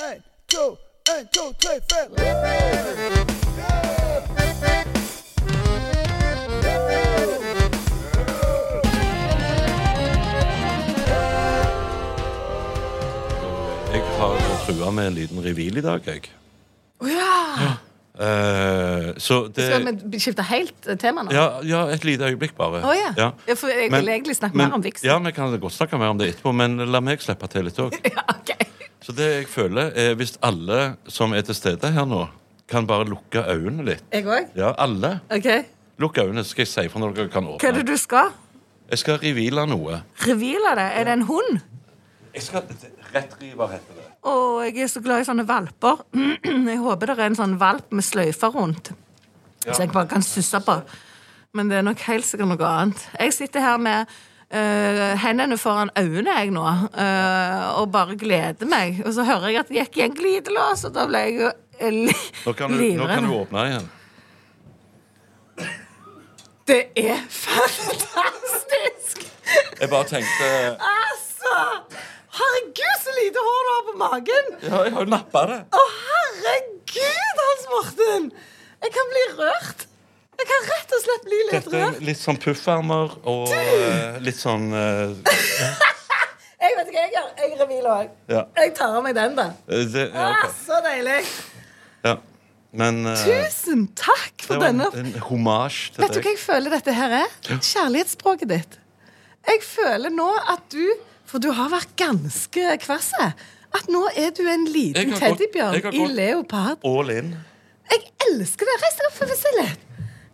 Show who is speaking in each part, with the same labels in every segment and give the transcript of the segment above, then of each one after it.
Speaker 1: En, to, en, to, tre, fem.
Speaker 2: Jeg har trua med en liten reveal i dag, jeg.
Speaker 3: Å ja!
Speaker 2: Eh, så det
Speaker 3: Skal vi skifte helt eh, tema nå?
Speaker 2: ja, ja, et lite øyeblikk, bare.
Speaker 3: Å ja. Ja, for jeg vil egentlig snakke mer om Vixen.
Speaker 2: Ja, vi kan godt snakke mer om det etterpå, men la meg slippe til litt òg.
Speaker 3: Ja, ok.
Speaker 2: Så det jeg føler, er hvis alle som er til stede her nå, kan bare lukke øynene litt.
Speaker 3: Jeg òg?
Speaker 2: Ja, alle.
Speaker 3: OK.
Speaker 2: Lukk øynene, så skal jeg si fra når dere kan
Speaker 3: Hva er det
Speaker 2: åpne.
Speaker 3: du skal?
Speaker 2: Jeg skal reveale noe.
Speaker 3: Reveale det? Er det en hund?
Speaker 2: Jeg skal Rettriver heter det.
Speaker 3: Å, jeg er så glad i sånne valper. jeg håper det er en sånn valp med sløyfer rundt, så jeg bare kan susse på. Men det er nok helt sikkert noe annet. Jeg sitter her med øh, hendene foran øynene jeg nå, øh, og bare gleder meg. Og så hører jeg at det gikk i en glidelås, og da ble jeg jo eh, li
Speaker 2: Nå kan du, nå kan du åpne igjen.
Speaker 3: Det er fantastisk!
Speaker 2: Jeg bare tenkte
Speaker 3: Altså! Herregud, så lite hår du har på magen!
Speaker 2: Ja, jeg har jo nappa det.
Speaker 3: Å, herregud, Hans Morten! Jeg kan bli rørt. Jeg kan rett og slett bli litt
Speaker 2: Dette er
Speaker 3: rørt.
Speaker 2: litt sånn puffarmer og eh, litt sånn eh,
Speaker 3: Jeg vet ikke hva jeg gjør. Jeg reviler òg.
Speaker 2: Ja.
Speaker 3: Jeg tar av meg den, da.
Speaker 2: Eh, det, ja,
Speaker 3: Ah,
Speaker 2: ok.
Speaker 3: så deilig.
Speaker 2: ja. Men eh,
Speaker 3: Tusen takk
Speaker 2: det
Speaker 3: for
Speaker 2: var en,
Speaker 3: denne.
Speaker 2: en hommage til
Speaker 3: Vet du
Speaker 2: deg.
Speaker 3: hva jeg føler dette her er? Kjærlighetsspråket ditt. Jeg føler nå at du For du har vært ganske kvass. At nå er du en
Speaker 2: Jeg
Speaker 3: liten
Speaker 2: har gått- jeg har
Speaker 3: teddybjørn i
Speaker 2: gått-
Speaker 3: leopard.
Speaker 2: All in.
Speaker 3: Jeg elsker det. Reis deg opp for meg selv litt.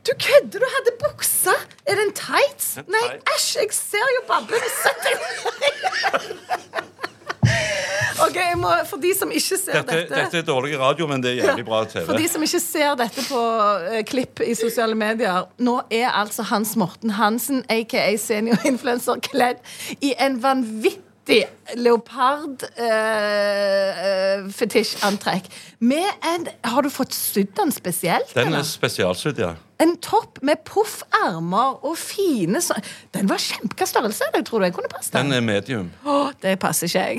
Speaker 3: Du kødder. Du hadde bukse. Er det en tights?
Speaker 2: En
Speaker 3: Nei,
Speaker 2: tights.
Speaker 3: æsj. Jeg ser jo babben. Sett deg ned. OK, jeg må, for de som ikke ser
Speaker 2: Dette,
Speaker 3: dette,
Speaker 2: dette er dårlig radio, men det er jævlig bra TV.
Speaker 3: For de som ikke ser dette på eh, klipp i sosiale medier, nå er altså Hans Morten Hansen, aka seniorinfluencer, kledd i en vanvittig leopard-fetisjantrekk. Med en Har du fått sydd den spesielt?
Speaker 2: Den
Speaker 3: eller?
Speaker 2: er spesialsydd, ja.
Speaker 3: En topp med poffermer og fine så... Den var kjempeka størrelse. Jeg tror du jeg kunne passe
Speaker 2: Den
Speaker 3: den.
Speaker 2: er medium.
Speaker 3: Åh, det passer ikke jeg.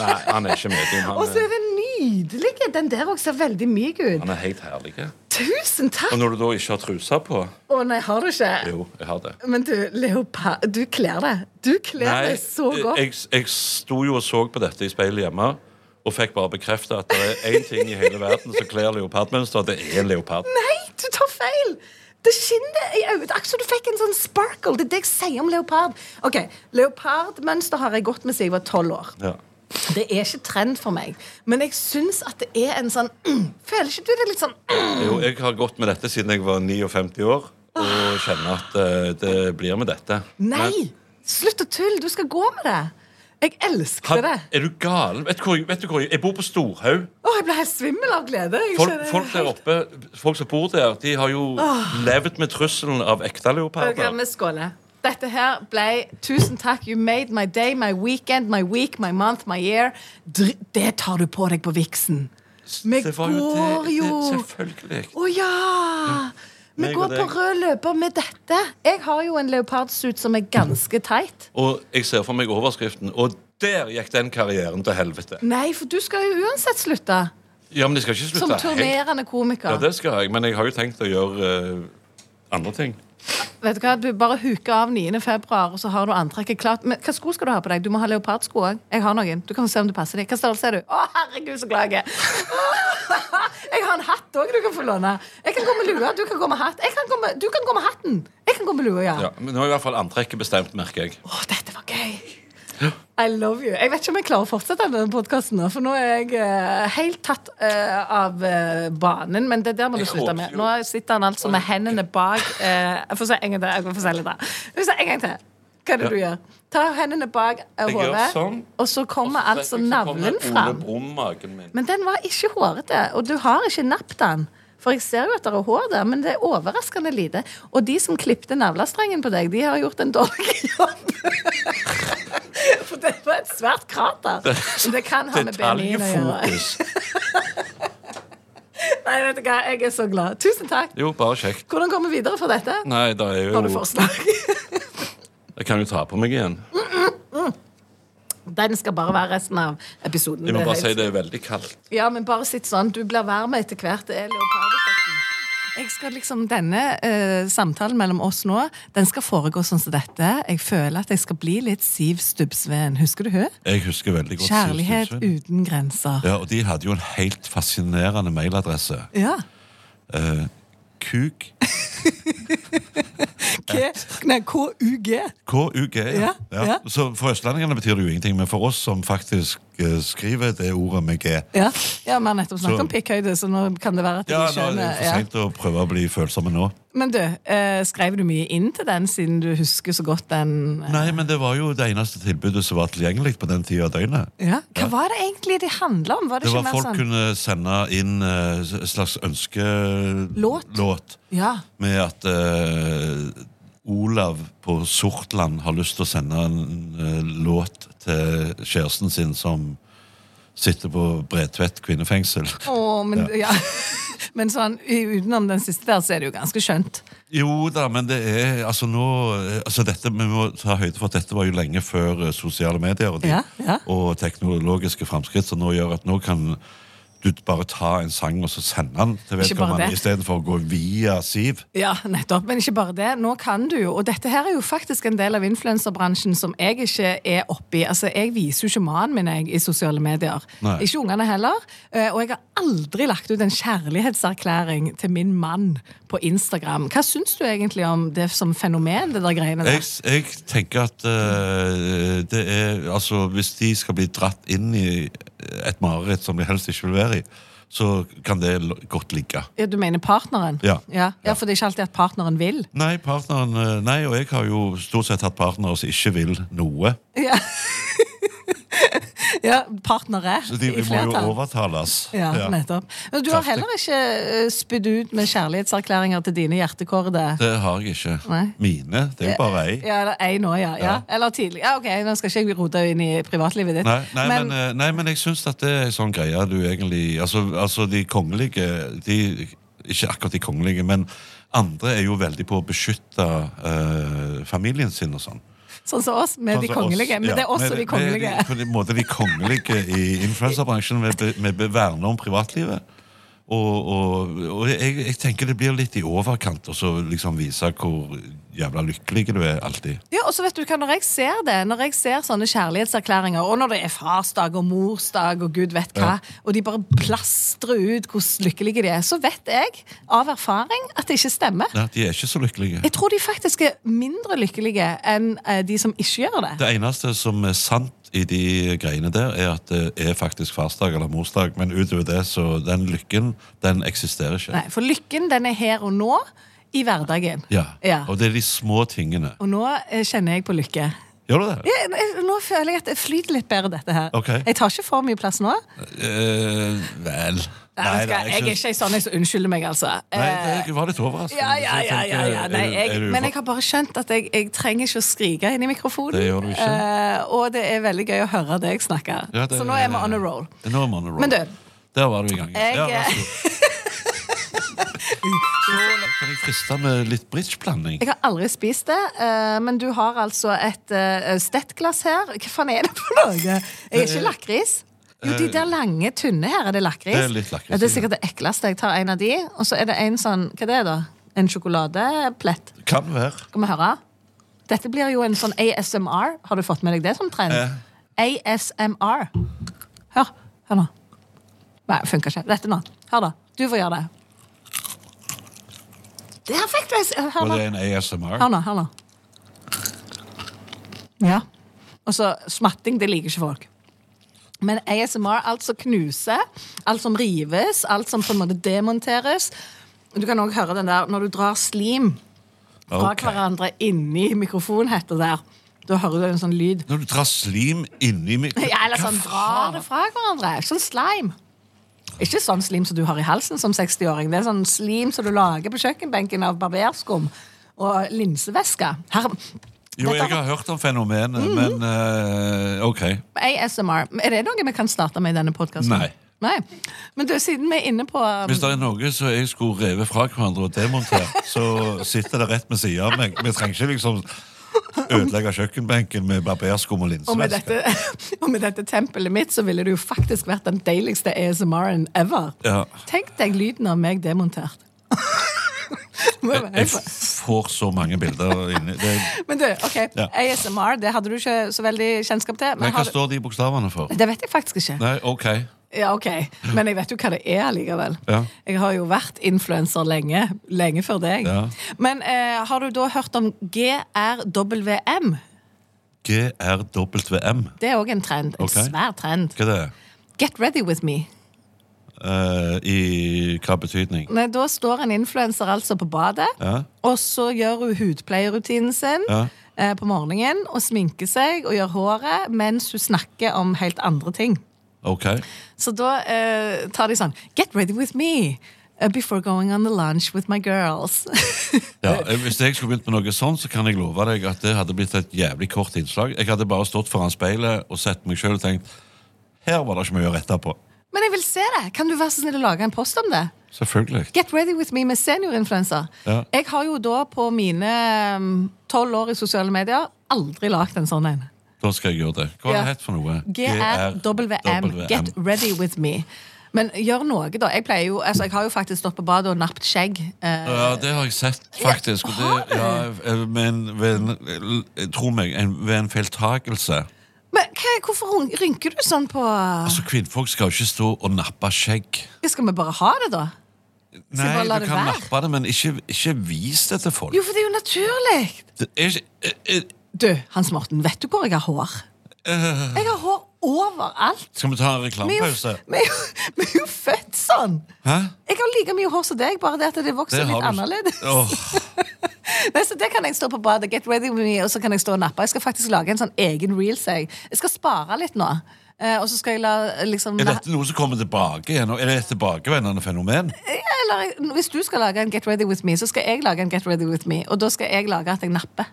Speaker 2: Nei, han er ikke medium.
Speaker 3: og
Speaker 2: Han
Speaker 3: så
Speaker 2: er,
Speaker 3: er den nydelig. Den der også ser veldig myk ut.
Speaker 2: han er helt herlig.
Speaker 3: Tusen takk!
Speaker 2: Og når du da ikke har trusa på
Speaker 3: Å nei, har du ikke?
Speaker 2: Jo, jeg har det.
Speaker 3: Men du, leopard Du kler det. Du kler det så godt.
Speaker 2: eh, jeg, jeg sto jo og så på dette i speilet hjemme. Og fikk bare bekrefta at det er én ting i hele verden som kler leopardmønster. Det er en leopard.
Speaker 3: Nei, du tar feil! Det skinner i øyet. Akkurat som du fikk en sånn sparkle. Det er det jeg sier om leopard. Ok, Leopardmønster har jeg gått med siden jeg var tolv år.
Speaker 2: Ja.
Speaker 3: Det er ikke trend for meg, men jeg syns at det er en sånn mm, Føler ikke du det er litt sånn mm?
Speaker 2: Jo, jeg har gått med dette siden jeg var 59 år, og kjenner at eh, det blir med dette.
Speaker 3: Nei!
Speaker 2: Men-
Speaker 3: Slutt å tulle! Du skal gå med det! Jeg elsker
Speaker 2: Han,
Speaker 3: det.
Speaker 2: er du gal? Vet du hvor, jeg- vet du hvor jeg, jeg bor på Storhaug.
Speaker 3: Å, jeg ble helt svimmel av glede. Jeg
Speaker 2: Folk,
Speaker 3: skjønner
Speaker 2: folk der
Speaker 3: helt-
Speaker 2: oppe, folk som bor der, de har jo levd med trusselen av ekte
Speaker 3: Ok,
Speaker 2: leoparder.
Speaker 3: Vi skåler. Dette her ble Tusen takk, you made my day, my weekend, my week, my month, my year. Dr det tar du på deg på viksen. Vi
Speaker 4: Det var jo det-
Speaker 3: går jo
Speaker 4: det- Selvfølgelig.
Speaker 3: Å ja! Vi
Speaker 4: Meg og
Speaker 3: går på
Speaker 4: deg.
Speaker 3: rød løper med dette. Jeg har jo en leopardsuit som er ganske teit.
Speaker 4: Og jeg ser for meg overskriften. Og der gikk den karrieren til helvete.
Speaker 3: Nei, for du skal jo uansett slutte.
Speaker 4: Ja, men jeg skal ikke
Speaker 3: Som
Speaker 4: slutte helt.
Speaker 3: turnerende komiker.
Speaker 4: Ja, det skal jeg, men jeg har jo tenkt å gjøre eh, andre ting.
Speaker 3: Vet du hva, du bare huker av 9. februar, og så har du antrekket klart. Men hva sko skal du ha på deg? Du må ha leopardsko òg. Jeg har noen. Du kan se om det passer deg. Hva størrelse er du? Å, herregud, så glad jeg er. Jeg har en hatt òg du kan få låne. Jeg kan gå med lue, du kan gå med hatt. Jeg kan gå med, du kan gå med hatten. Jeg kan gå med lue, ja.
Speaker 4: Ja, men nå er i hvert fall antrekket bestemt, merker jeg.
Speaker 3: Å, dette var gøy. I love you. Jeg vet ikke om jeg klarer å fortsette denne podkasten, for nå er jeg eh, helt tatt eh, av eh, banen. Men det der må du
Speaker 4: Jeg
Speaker 3: slutte
Speaker 4: håper
Speaker 3: med.
Speaker 4: jo-
Speaker 3: Nå sitter han altså med hendene bak eh, Jeg får se en gang til. Jeg får se litt der. Jeg får se en gang til. Hva er det
Speaker 4: Ja.
Speaker 3: du gjør? Ta hendene bak eh,
Speaker 4: Jeg gjør
Speaker 3: hodet,
Speaker 4: sånn,
Speaker 3: og så kommer altså navlen
Speaker 4: Ole
Speaker 3: fram.
Speaker 4: Brumm-magen min.
Speaker 3: Men den var ikke hårete, og du har ikke nappet den. For jeg ser jo at det er hår der, men det er overraskende lite. Og de som klippte navlestrengen på deg, de har gjort en dårlig jobb. For det var et svært krater. Men det kan ha med BMI-en å gjøre.
Speaker 4: Detaljfokus.
Speaker 3: Nei, vet du hva, jeg er så glad. Tusen takk.
Speaker 4: Jo, bare kjekt.
Speaker 3: Hvordan går vi videre fra dette?
Speaker 4: Nei, det er
Speaker 3: Har du Mm.
Speaker 4: jo
Speaker 3: forslag?
Speaker 4: Jeg kan jo ta på meg igjen.
Speaker 3: Den skal bare være resten av episoden.
Speaker 4: Jeg må
Speaker 3: Det er
Speaker 4: bare
Speaker 3: helt-
Speaker 4: si det er veldig kaldt.
Speaker 3: Ja, men bare sitt sånn. Du blir varm etter hvert. Det er leopardeffekten. Jeg skal liksom, Denne eh, samtalen mellom oss nå Den skal foregå sånn som dette. Jeg føler at jeg skal bli litt Siv Stubbsveen. Husker du hun?
Speaker 4: Jeg husker veldig godt
Speaker 3: Kjærlighet
Speaker 4: Sivstundsund.
Speaker 3: uten grenser.
Speaker 4: Ja, og de hadde jo en helt fascinerende mailadresse.
Speaker 3: Ja.
Speaker 4: Eh, kuk
Speaker 3: K nei, KUG.
Speaker 4: KUG.
Speaker 3: Ja, ja.
Speaker 4: Så for østlendingene betyr det jo ingenting, men for oss som faktisk eh, skriver det ordet med G
Speaker 3: Ja, ja Vi har nettopp
Speaker 4: Så-
Speaker 3: snakket om pikkhøyde, så nå kan det være at de
Speaker 4: Ja, nå er det
Speaker 3: skjønner.
Speaker 4: for seint å prøve å bli følsomme nå.
Speaker 3: Men du, eh, skrev du mye inn til den, siden du husker så godt den? eh,
Speaker 4: Nei, men det var jo det eneste tilbudet som var tilgjengelig på den tida av døgnet.
Speaker 3: Ja. Hva var det egentlig de handla om? Var det,
Speaker 4: Det var
Speaker 3: ikke mer
Speaker 4: Folk
Speaker 3: sånn?
Speaker 4: kunne sende inn eh, s- slags ønskelåt
Speaker 3: Låt. Ja.
Speaker 4: med at eh, Olav på Sortland har lyst til å sende en eh, låt til kjæresten sin som sitter på Bredtvet kvinnefengsel.
Speaker 3: Åh, men, ja. men sånn, i- utenom den siste der, så er det jo ganske skjønt.
Speaker 4: Jo da, men det er altså nå eh, altså dette, Vi må ta høyde for at dette var jo lenge før eh, sosiale medier og, de,
Speaker 3: Ja, ja.
Speaker 4: og teknologiske framskritt, som nå gjør at nå kan du bare ta en sang og så sende den til
Speaker 3: Ikke bare
Speaker 4: vedkommende
Speaker 3: det.
Speaker 4: istedenfor å gå via Siv.
Speaker 3: Ja, nettopp. Men ikke bare det. Nå kan du jo, og dette her er jo faktisk en del av influenserbransjen som jeg ikke er oppi. Altså, Jeg viser jo ikke mannen min jeg, i sosiale medier.
Speaker 4: Nei.
Speaker 3: Ikke ungene heller. Eh, Og jeg har aldri lagt ut en kjærlighetserklæring til min mann på Instagram. Hva syns du egentlig om det som fenomen, det der greiene
Speaker 4: Jeg,
Speaker 3: der?
Speaker 4: jeg tenker at eh, det er Altså, hvis de skal bli dratt inn i et mareritt som de helst ikke vil være i, så kan det l- godt ligge.
Speaker 3: Ja, Du mener partneren?
Speaker 4: Ja.
Speaker 3: ja. Ja, For det er ikke alltid at partneren vil?
Speaker 4: Nei, partneren, eh, nei, og jeg har jo stort sett hatt partnere som ikke vil noe.
Speaker 3: Ja. ja partnere
Speaker 4: Så de,
Speaker 3: i
Speaker 4: de må jo
Speaker 3: flertall.
Speaker 4: overtales.
Speaker 3: Ja, nettopp. Men du har
Speaker 4: Kraftig.
Speaker 3: heller ikke eh, spydd ut med kjærlighetserklæringer til dine hjertekårde.
Speaker 4: Det har jeg ikke.
Speaker 3: Nei.
Speaker 4: Mine. Det er jo bare ei.
Speaker 3: Ja, eller ei nå, ja. ja.
Speaker 4: Ja.
Speaker 3: Eller tidlig. Ja, ok, Nå skal ikke jeg rote inn i privatlivet ditt.
Speaker 4: Nei, nei, men, eh, nei, men jeg syns at det er sånn greie du egentlig Altså, altså de kongelige de, Ikke akkurat de kongelige, men andre er jo veldig på å beskytte eh, familien sin og sånn.
Speaker 3: sånn som oss, med
Speaker 4: Sånn
Speaker 3: de
Speaker 4: som
Speaker 3: kongelige.
Speaker 4: oss,
Speaker 3: Men
Speaker 4: ja.
Speaker 3: det er også
Speaker 4: Med-
Speaker 3: de kongelige.
Speaker 4: Med, de- på en måte de kongelige i influenserbransjen. Vi be- Vi be- verner om privatlivet. Og, og, og jeg, jeg tenker det blir litt i overkant å så liksom vise hvor jævla lykkelig du er alltid.
Speaker 3: Ja, og så vet du hva, Når jeg ser det, når jeg ser sånne kjærlighetserklæringer, og når det er farsdag og morsdag og gud vet hva, og de bare plastrer ut hvor lykkelige de er, så vet jeg av erfaring at det ikke stemmer.
Speaker 4: Nei, de er ikke så lykkelige.
Speaker 3: Jeg tror de faktisk er mindre lykkelige enn eh, de som ikke gjør det.
Speaker 4: Det eneste som er sant i de greiene der, er at det er faktisk farsdag eller morsdag. Men utover det, så den lykken, den eksisterer ikke.
Speaker 3: Nei, For lykken den er her og nå, i hverdagen.
Speaker 4: Ja. Og det er de små tingene.
Speaker 3: Og nå eh, kjenner jeg på lykke.
Speaker 4: Gjør du det?
Speaker 3: Ja, jeg- Nå føler jeg at det flyter litt bedre, dette her.
Speaker 4: Ok.
Speaker 3: Jeg tar ikke for mye plass nå.
Speaker 4: Eh, vel
Speaker 3: Nei,
Speaker 4: Nei,
Speaker 3: vet du hva,
Speaker 4: nei, jeg
Speaker 3: jeg er
Speaker 4: synes-
Speaker 3: ikke en sånn jeg som unnskylder meg, altså.
Speaker 4: Nei,
Speaker 3: Eh,
Speaker 4: jeg var litt overrasket.
Speaker 3: Ja, ja, ja, ja, ja.
Speaker 4: Jeg tenkte,
Speaker 3: Nei,
Speaker 4: er du- er
Speaker 3: jeg,
Speaker 4: du
Speaker 3: men
Speaker 4: for-
Speaker 3: jeg har bare skjønt at jeg, jeg trenger ikke å skrike inn i mikrofonen.
Speaker 4: Det gjør du ikke.
Speaker 3: Eh, og det er veldig gøy å høre deg snakke.
Speaker 4: Ja, det-
Speaker 3: Så nå er vi on a roll.
Speaker 4: Nå er vi on a roll.
Speaker 3: Men du,
Speaker 4: Der var du i gang. ja.
Speaker 3: Jeg- eh,
Speaker 4: Ja, vær så god. Så kan jeg friste med litt bridgeblanding.
Speaker 3: jeg har aldri spist det, eh, men du har altså et eh, stettglass her. Hva faen er det for noe? Jeg er
Speaker 4: Eh,
Speaker 3: ikke lakris. Jo, de der lange, tynne her, er det lakris?
Speaker 4: Det er litt lakris,
Speaker 3: Ja, det er sikkert det ekleste. Jeg tar en av de, og så er det en sånn Hva det er da? En sjokoladeplett.
Speaker 4: Kan være.
Speaker 3: Skal vi høre? Dette blir jo en sånn ASMR. Har du fått med deg det som trend?
Speaker 4: Ja.
Speaker 3: ASMR. Hør. Hør nå. Nei, det funker ikke. Dette nå. Hør, da. Du får gjøre det. Der fikk du en- Hør
Speaker 4: Var
Speaker 3: nå.
Speaker 4: det en ASMR?
Speaker 3: Hør nå. Hør nå. Ja. Og så Altså, smatting, det liker ikke folk. Men ASMR, alt som knuser, alt som rives, alt som på en måte demonteres. Du kan òg høre den der når du drar slim fra
Speaker 4: Ok.
Speaker 3: hverandre inni mikrofonhetta der. Da hører du en sånn lyd.
Speaker 4: Når du drar slim inni mik...
Speaker 3: Ja, eller sånn drar det fra hverandre. Sånn slime. Ikke sånn slim som du har i halsen som 60-åring. Det er sånn slim som du lager på kjøkkenbenken av barberskum og linsevæske. Her,
Speaker 4: Jo, jeg har hørt om fenomenet,
Speaker 3: Mm.
Speaker 4: men eh, OK.
Speaker 3: ASMR. Er det noe vi kan starte med i denne podkasten?
Speaker 4: Nei.
Speaker 3: Nei. Men du, siden vi er inne på um,
Speaker 4: Hvis det er noe som jeg skulle revet fra hverandre og demontert, så sitter det rett ved siden av meg. Vi trenger ikke liksom ødelegge kjøkkenbenken med barberskum og
Speaker 3: og med,
Speaker 4: linsevæske.
Speaker 3: dette, og med dette tempelet mitt, så ville det jo faktisk vært den deiligste ASMR-en ever.
Speaker 4: Ja.
Speaker 3: Tenk deg lyden av meg demontert. Må
Speaker 4: Jeg,
Speaker 3: være
Speaker 4: jeg
Speaker 3: for-
Speaker 4: får så mange bilder inni det,
Speaker 3: Men du, ok,
Speaker 4: Ja.
Speaker 3: ASMR det hadde du ikke så veldig kjennskap til.
Speaker 4: Men
Speaker 3: Men
Speaker 4: hva
Speaker 3: har du...
Speaker 4: står de bokstavene for?
Speaker 3: Det vet jeg faktisk ikke.
Speaker 4: Nei, OK.
Speaker 3: Ja, ok, Men jeg vet jo hva det er likevel.
Speaker 4: Ja.
Speaker 3: Jeg har jo vært influenser lenge. Lenge før deg.
Speaker 4: Ja.
Speaker 3: Men eh, har du da hørt om GRWM?
Speaker 4: GRWM.
Speaker 3: Det er òg en trend. En
Speaker 4: Ok.
Speaker 3: svær trend.
Speaker 4: Hva er det?
Speaker 3: Get ready with me.
Speaker 4: Eh, I hva betydning?
Speaker 3: Nei, Da står en influenser altså på badet, og så gjør hun hudpleierrutinen sin
Speaker 4: Ja.
Speaker 3: eh, på morgenen. Og sminker seg og gjør håret mens hun snakker om helt andre ting.
Speaker 4: OK.
Speaker 3: Så da eh, tar de sånn Get ready with me uh, before going on the lunch with my girls.
Speaker 4: Ja, eh, hvis jeg skulle begynt med noe sånn, så kan jeg love deg at det hadde blitt et jævlig kort innslag. Jeg hadde bare stått foran speilet og sett meg sjøl og tenkt Her var det ikke mye å rette på.
Speaker 3: Men jeg vil se det! Kan du være så snill å lage en post om det?
Speaker 4: Selvfølgelig.
Speaker 3: Get ready with me med seniorinfluenser.
Speaker 4: Ja.
Speaker 3: Jeg har jo da på mine mm, tolv år i sosiale medier aldri lagd en sånn en.
Speaker 4: Da skal jeg gjøre det. Hva var
Speaker 3: Ja.
Speaker 4: det het for noe?
Speaker 3: GRWM. Get ready with me. Men gjør noe, da. Jeg pleier jo, altså jeg har jo faktisk stått på badet og nappet skjegg. eh,
Speaker 4: Ja, det har jeg sett, faktisk. Og
Speaker 3: har du?
Speaker 4: det, ja, men ved en, tro meg, en, ved en feiltagelse
Speaker 3: Men hva, hvorfor ryn- rynker du sånn på
Speaker 4: Altså, kvinnfolk skal jo ikke stå og nappe skjegg.
Speaker 3: Skal vi bare ha det, da?
Speaker 4: Nei,
Speaker 3: bare
Speaker 4: du
Speaker 3: la
Speaker 4: kan
Speaker 3: det være?
Speaker 4: nappe det, men ikke, ikke vis det til folk.
Speaker 3: Jo, for det er jo naturlig!
Speaker 4: Det er ikke, eh, eh,
Speaker 3: Du, Hans Morten, vet du hvor jeg har hår? Jeg har hår overalt.
Speaker 4: skal vi ta en
Speaker 3: Vi er jo,
Speaker 4: reklamepause?
Speaker 3: vi er jo, vi er jo født sånn!
Speaker 4: Hæ?
Speaker 3: Jeg har like mye hår som deg, bare det at det vokser
Speaker 4: Det har
Speaker 3: litt
Speaker 4: du-
Speaker 3: annerledes.
Speaker 4: Åh,
Speaker 3: Nei, så Det kan jeg stå på badet, get ready with me, og så kan jeg stå og nappe. Jeg skal faktisk lage en sånn egen reels. Jeg, jeg skal spare litt nå. Eh, og så skal jeg la eh, liksom
Speaker 4: er dette noe som kommer tilbake igjen? og Er det et tilbakevendende fenomen?
Speaker 3: Ja, eller, jeg- Hvis du skal lage en Get ready with me, så skal jeg lage en Get ready with me. Og da skal jeg lage at jeg napper.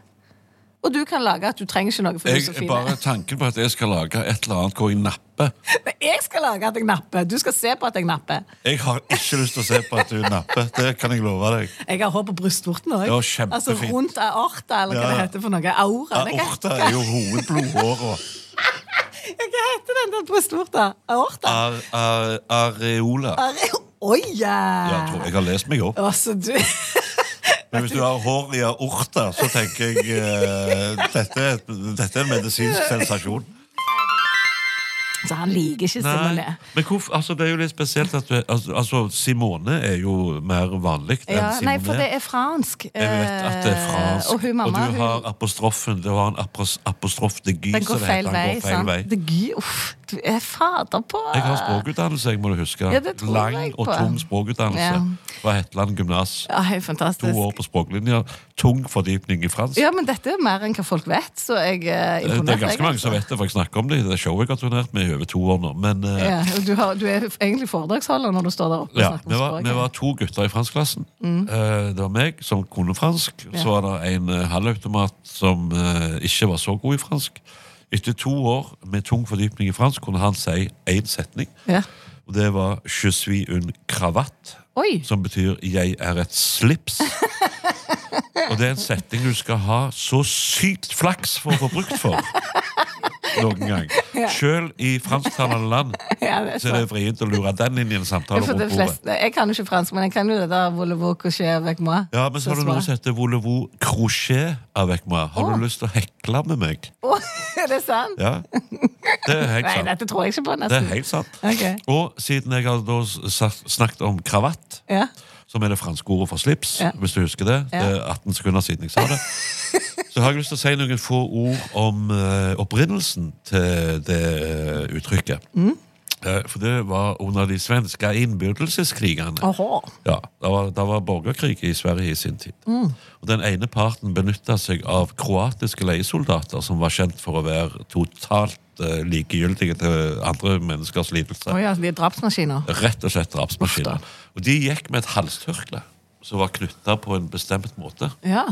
Speaker 3: Og du kan lage at du trenger ikke noe. for du er så
Speaker 4: Jeg,
Speaker 3: fin.
Speaker 4: bare tanken på at jeg skal lage et eller annet hvor jeg napper
Speaker 3: Men jeg skal lage at jeg napper. Du skal se på at jeg napper.
Speaker 4: Jeg har ikke lyst til å se på at du napper. Det kan jeg love deg.
Speaker 3: Jeg har hår på brystvorten òg.
Speaker 4: Ja, kjempefint.
Speaker 3: altså rundt aorta, eller hva
Speaker 4: Ja.
Speaker 3: det heter for noe. Aura. det- hva-
Speaker 4: Aorta Ah, er jo hovedblodåra.
Speaker 3: Hva heter den der brystvorta? Aorta?
Speaker 4: Ar, ar, areola.
Speaker 3: Are- Oi!
Speaker 4: Ja, jeg tror jeg har lest meg opp.
Speaker 3: Altså, du
Speaker 4: Men hvis du har hår i aorta, så tenker jeg eh, dette, er et- dette er en medisinsk sensasjon.
Speaker 3: Så han liker ikke Simone.
Speaker 4: Men hvorfor, altså, det er jo litt spesielt at du altså, altså, Simone er jo mer vanlig enn
Speaker 3: Ja,
Speaker 4: Simone.
Speaker 3: nei, for det er fransk.
Speaker 4: Jeg vet at det er fransk.
Speaker 3: Eh, Og hun mamma
Speaker 4: du
Speaker 3: hun-
Speaker 4: har apostrofen. Du har en apos, apostrof de gy,
Speaker 3: Den
Speaker 4: som
Speaker 3: går
Speaker 4: det
Speaker 3: feil
Speaker 4: heter.
Speaker 3: vei,
Speaker 4: Den går feil
Speaker 3: sant?
Speaker 4: vei.
Speaker 3: Det gir, uff, du er fader på
Speaker 4: Jeg har språkutdannelse, jeg må du huske.
Speaker 3: Ja, det tror
Speaker 4: Lang
Speaker 3: jeg
Speaker 4: og
Speaker 3: på.
Speaker 4: tung språkutdannelse
Speaker 3: Ja.
Speaker 4: fra Hetland gymnas.
Speaker 3: Ja, helt
Speaker 4: To
Speaker 3: fantastisk.
Speaker 4: år på språklinja. Tung fordypning i fransk.
Speaker 3: Ja, men dette er mer enn hva folk vet, så jeg er
Speaker 4: Eh, Det
Speaker 3: imponert.
Speaker 4: er ganske mange som vet det, for jeg snakker om det i det showet jeg har turnert med i jeg over to år nå, men eh,
Speaker 5: Ja, og du, har, du er egentlig foredragsholder når du står der oppe og
Speaker 4: Ja,
Speaker 5: snakker
Speaker 4: vi
Speaker 5: om
Speaker 4: var,
Speaker 5: språket.
Speaker 4: vi var to gutter i franskklassen. Eh, det var meg som kunne fransk. Så var det en eh, halvautomat som eh, ikke var så god i fransk. Etter to år med tung fordypning i fransk kunne han si én setning.
Speaker 5: Ja.
Speaker 4: Og det var 'je suis un cravatte',
Speaker 5: Oi!
Speaker 4: som betyr 'jeg er et slips'. Og det er en setning du skal ha så sykt flaks for å få brukt for noen gang. Sjøl i fransktalende land
Speaker 5: Ja, det er
Speaker 4: så er det
Speaker 5: sant.
Speaker 4: vrient å lure den inn i en samtale
Speaker 5: For de
Speaker 4: rundt bordet.
Speaker 5: fleste, jeg kan jo ikke fransk, men jeg kan jo det der Volevo couché avec moi.
Speaker 4: Ja, men så har du noe som heter Volevo crochet avec moi. Har
Speaker 5: Åh.
Speaker 4: du lyst til å hekle med meg?
Speaker 5: Å, Er det sant?
Speaker 4: Ja, det er helt
Speaker 5: Nei,
Speaker 4: sant.
Speaker 5: dette tror jeg ikke på,
Speaker 4: Det er
Speaker 5: nesten.
Speaker 4: helt sant.
Speaker 5: Ok.
Speaker 4: Og siden jeg har da s- sagt- snakket om kravatt,
Speaker 5: Ja.
Speaker 4: som er det franske ordet for slips,
Speaker 5: Ja.
Speaker 4: hvis du husker det, det er 18 sekunder siden jeg sa det, så har jeg lyst til å si noen få ord om eh, opprinnelsen til det eh, uttrykket.
Speaker 5: Mm.
Speaker 4: Eh, for det var under de svenske innbyrdelseskrigene.
Speaker 5: Åhå.
Speaker 4: Ja, det var, det var borgerkrig i Sverige i sin tid.
Speaker 5: Mm.
Speaker 4: Og Den ene parten benytta seg av kroatiske leiesoldater, som var kjent for å være totalt eh, likegyldige til andre menneskers lidelse.
Speaker 5: Å ja, de er drapsmaskiner.
Speaker 4: Rett og slett drapsmaskiner. Og de gikk med et halstørkle som var knytta på en bestemt måte.
Speaker 5: Ja.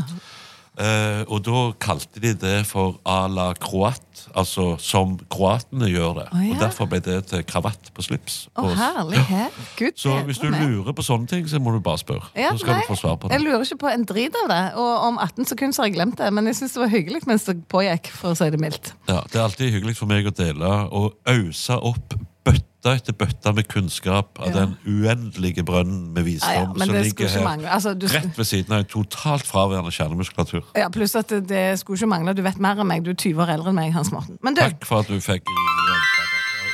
Speaker 4: Eh, og da kalte de det for à la croat, altså som kroatene gjør det.
Speaker 5: Å, ja.
Speaker 4: Og derfor ble det til kravatt på slips.
Speaker 5: Å,
Speaker 4: på-
Speaker 5: herlighet. Gud
Speaker 4: Så hvis du
Speaker 5: bedre meg.
Speaker 4: lurer på sånne ting, så må du bare spørre.
Speaker 5: Ja,
Speaker 4: så skal
Speaker 5: nei,
Speaker 4: du få svar på det.
Speaker 5: Jeg lurer ikke på en drit av det. Og om 18 sekunder så har jeg glemt det. Men jeg syns det var hyggelig mens det pågikk, for å si det mildt.
Speaker 4: Ja, Det er alltid hyggelig for meg å dele og ause opp bøtte etter bøtte med kunnskap av den uendelige brønnen med visdom
Speaker 5: Ja, ja, men
Speaker 4: som
Speaker 5: det
Speaker 4: ligger
Speaker 5: skulle ikke
Speaker 4: her
Speaker 5: mangle. Altså, du-
Speaker 4: rett ved siden av en totalt fraværende kjernemuskulatur.
Speaker 5: Ja, Pluss at det, det skulle ikke mangle. Du vet mer enn meg. Du er 20 år eldre enn meg, Hans Morten. Men du,
Speaker 4: Takk for at du fikk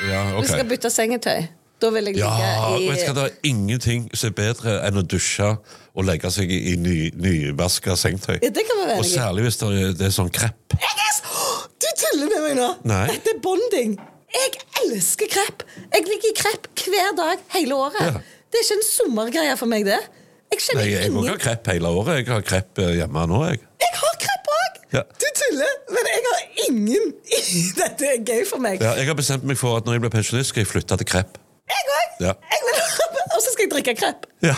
Speaker 4: ja,
Speaker 5: du skal
Speaker 4: ok.
Speaker 5: bytte sengetøy. Da vil jeg
Speaker 4: Ja,
Speaker 5: ligge i
Speaker 4: vet du hva, Det er ingenting som er bedre enn å dusje og legge seg i i ny, nyvaska sengetøy.
Speaker 5: Ja, det kan vi være
Speaker 4: Og
Speaker 5: enig i.
Speaker 4: særlig hvis det er, det er sånn krepp.
Speaker 3: Jeg er så... Du tuller med meg nå!
Speaker 4: Nei.
Speaker 3: Dette er bonding. Jeg elsker krepp. Jeg ligger i krepp hver dag hele året.
Speaker 4: Ja.
Speaker 3: Det er ikke en sommergreie for meg, det. Jeg
Speaker 4: Nei,
Speaker 3: kjenner
Speaker 4: jeg går
Speaker 3: ingen
Speaker 4: ikke ha krepp hele året. Jeg har krepp eh, hjemme nå, jeg.
Speaker 3: Jeg har krepp òg!
Speaker 4: Ja.
Speaker 3: Du tuller, men jeg har ingen Dette er gøy for meg.
Speaker 4: Ja, jeg har bestemt meg for at når jeg blir pensjonist, skal jeg flytte til krepp.
Speaker 3: Jeg òg!
Speaker 4: Ja.
Speaker 3: Jeg vil ha Og så skal jeg drikke krepp.
Speaker 4: Ja,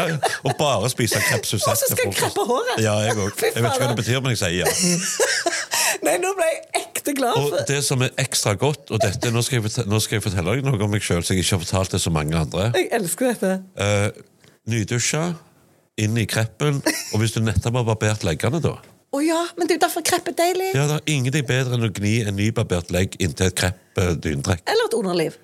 Speaker 4: og bare spise krepsus
Speaker 3: Og så skal jeg kreppe håret.
Speaker 4: Ja, jeg òg.
Speaker 3: Fy
Speaker 4: Jeg vet ikke hva
Speaker 3: fader.
Speaker 4: det betyr, men jeg sier ja.
Speaker 3: Nei, nå ble jeg ekte glad.
Speaker 4: Og
Speaker 3: For...
Speaker 4: det som er ekstra godt, og dette, nå skal jeg, fortelle, nå skal jeg fortelle deg noe om meg sjøl som jeg ikke har fortalt til så mange andre.
Speaker 3: Jeg elsker dette.
Speaker 4: Uh, Nydusja, inn i kreppen, og hvis du nettopp har barbert leggene, da
Speaker 3: Å ja, men det er jo derfor krepp er deilig.
Speaker 4: Ja, det er ingenting bedre enn å gni en nybarbert legg inntil et krepp eh, dyndrekk.
Speaker 3: Eller et underliv.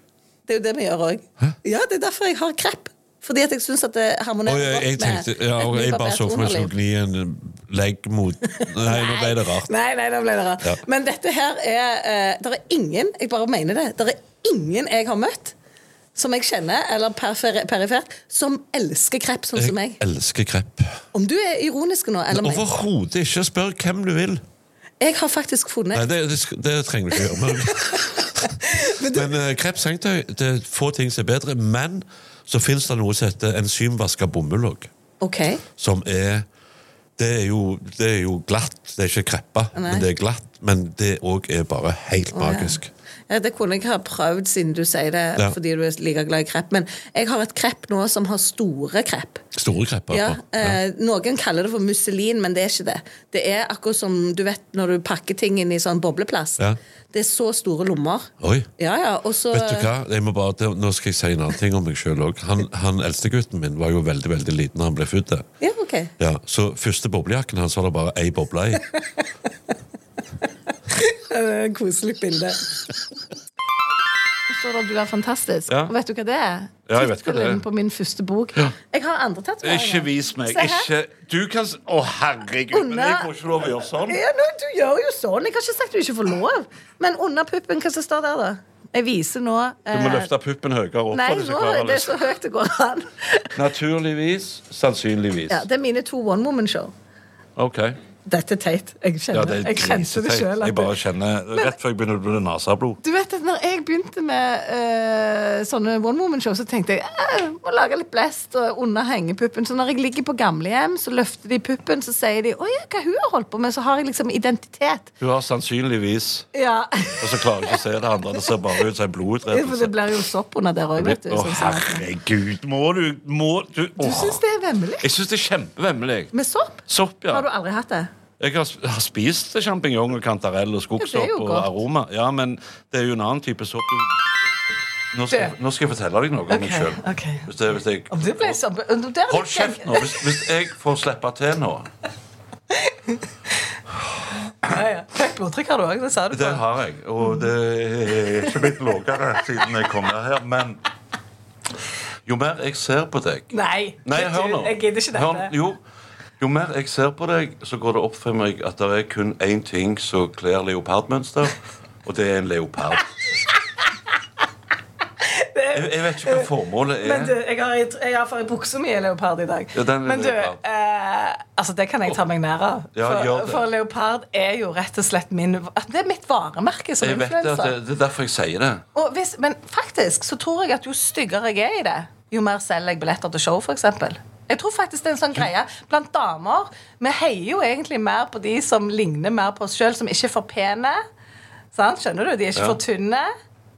Speaker 3: Det er jo det vi gjør òg. Ja, det er derfor jeg har krepp. Fordi at jeg syns at det
Speaker 4: Og
Speaker 3: harmonerer
Speaker 4: jeg, jeg tenkte, ja,
Speaker 3: et
Speaker 4: og jeg bare
Speaker 3: nybarbert
Speaker 4: så for meg jeg skulle
Speaker 3: underliv.
Speaker 4: gni en legg mot Nei, nå ble det rart.
Speaker 3: Nei, nei, da ble det rart.
Speaker 4: Ja.
Speaker 3: Men dette her er eh, Det er ingen, jeg bare mener det, det er ingen jeg har møtt som jeg kjenner, eller perifere- perifert, som elsker krepp sånn som
Speaker 4: Jeg
Speaker 3: meg.
Speaker 4: elsker krepp.
Speaker 3: Om du er ironisk nå, eller meg
Speaker 4: Overhodet ikke. Spør hvem du vil.
Speaker 3: Jeg har faktisk funnet
Speaker 4: Nei, det, det, sk- det trenger du ikke gjøre. Men, men eh, kreps sengetøy, det er få ting som er bedre. Men så fins det noe som heter enzymvaska bomull òg.
Speaker 3: Ok.
Speaker 4: Som er det er, jo, det er jo glatt. Det er ikke kreppa, men det er glatt. Men det òg er bare helt magisk.
Speaker 3: Ja, det kunne jeg ha prøvd, siden du sier det
Speaker 4: Ja.
Speaker 3: fordi du er like glad i krepp. Men jeg har et krepp nå som har store krepp.
Speaker 4: Store krepper.
Speaker 3: Ja,
Speaker 4: på.
Speaker 3: eh, Noen kaller det for musselin, men det er ikke det. Det er akkurat som du vet når du pakker ting inn i sånn bobleplast.
Speaker 4: Ja.
Speaker 3: Det er så store lommer.
Speaker 4: Oi.
Speaker 3: Ja, ja, og så
Speaker 4: Vet du hva? Jeg må bare, det- nå skal jeg si en annen ting om meg sjøl òg. Han, han eldstegutten min var jo veldig veldig liten da han ble født. der.
Speaker 3: Ja, ok.
Speaker 4: Ja, så første boblejakken hans var det bare ei boble i.
Speaker 3: Eh, Koselig bilde.
Speaker 5: står det at du er fantastisk.
Speaker 4: Ja.
Speaker 5: Og vet du hva det er?
Speaker 2: Ja, jeg vet hva det er.
Speaker 5: Tittelen på min første bok. Jeg har andre tatoveringer.
Speaker 2: Ikke vis meg.
Speaker 5: Se her.
Speaker 2: Ikke Du kan s- Å, herregud, men jeg får ikke lov å gjøre sånn.
Speaker 5: Ja, nå, du gjør jo sånn. Jeg har ikke sagt du ikke får lov. Men under puppen, hva som står der, da? Jeg viser nå eh,
Speaker 2: Du må løfte puppen høyere opp.
Speaker 5: Nei,
Speaker 2: for du skal
Speaker 5: nå,
Speaker 2: klare
Speaker 5: det
Speaker 2: å
Speaker 5: er
Speaker 2: løse.
Speaker 5: så høyt det går an.
Speaker 2: Naturligvis. Sannsynligvis.
Speaker 5: Ja, det er mine to one woman-show.
Speaker 2: Ok.
Speaker 6: Dette er teit. Jeg
Speaker 2: Ja,
Speaker 6: kjenner
Speaker 2: det er
Speaker 6: jeg kjente det
Speaker 2: griseteit.
Speaker 6: sjøl.
Speaker 2: Jeg bare kjenner Rett før jeg begynner å blø naseblod.
Speaker 3: Du vet at når jeg begynte med eh, sånne one woman-show, så tenkte jeg «Eh, må lage litt blest og under hengepuppen. Så når jeg ligger på gamlehjem, så løfter de puppen, så sier de 'Å ja, hva hun har holdt på med?' Så har jeg liksom identitet.
Speaker 2: Hun har sannsynligvis
Speaker 3: Ja,
Speaker 2: Og så klarer jeg ikke å se det andre. Det ser bare ut som en
Speaker 3: For det
Speaker 2: blodutrettelse.
Speaker 3: blir jo sopp under der òg, vet du.
Speaker 2: Å,
Speaker 3: sånn som-
Speaker 2: herregud. Må du Må du
Speaker 3: Du
Speaker 2: Åh.
Speaker 3: syns det er vemmelig?
Speaker 2: Jeg syns det er kjempevemmelig.
Speaker 3: Med sopp?
Speaker 2: Sopp, ja.
Speaker 3: Har du aldri hatt det?
Speaker 2: Jeg har, sp- har spist sjampinjong og kantarell og
Speaker 3: Ja, det
Speaker 2: skogsopp
Speaker 3: er jo
Speaker 2: og
Speaker 3: godt.
Speaker 2: aroma. Ja, men det er jo en annen type sopp. Nå skal,
Speaker 3: Det.
Speaker 2: nå skal jeg fortelle deg noe om meg sjøl.
Speaker 3: Ok, ok.
Speaker 2: Hvis det- hvis jeg-
Speaker 3: Om det ble sopp om det er
Speaker 2: Hold
Speaker 3: litt
Speaker 2: kjeft nå! Hvis, hvis jeg får slippe til nå
Speaker 3: Ja, ja. Høyt blodtrykk har du òg, det sa du.
Speaker 2: Det har jeg, og det er ikke blitt lavere siden jeg kom ned her. Men jo mer jeg ser på deg
Speaker 3: Nei,
Speaker 2: Nei,
Speaker 3: du,
Speaker 2: hør nå.
Speaker 3: jeg gidder ikke dette.
Speaker 2: Hør- jo. jo mer jeg ser på deg, så går det opp for meg at det er kun én ting som kler leopardmønster, og det er en leopard. Jeg, jeg vet ikke hva formålet
Speaker 3: Men du,
Speaker 2: er.
Speaker 3: jeg har, jeg har for i buksa mi er leopard i dag.
Speaker 2: Ja, den er
Speaker 3: Men du,
Speaker 2: leopard.
Speaker 3: eh, altså det kan jeg ta meg nær av.
Speaker 2: Ja, gjør
Speaker 3: For,
Speaker 2: det.
Speaker 3: for leopard er jo rett og slett min Det er mitt varemerke som
Speaker 2: Jeg vet det, at det,
Speaker 3: influenser.
Speaker 2: det er derfor jeg sier det.
Speaker 3: Og hvis- Men faktisk så tror jeg at jo styggere jeg er i det, jo mer selger jeg billetter til show, f.eks. Jeg tror faktisk det er en sånn greie Blant damer Vi heier jo egentlig mer på de som ligner mer på oss sjøl, som ikke er for pene. Sant? Skjønner du? De er ikke
Speaker 2: Ja.
Speaker 3: for tynne.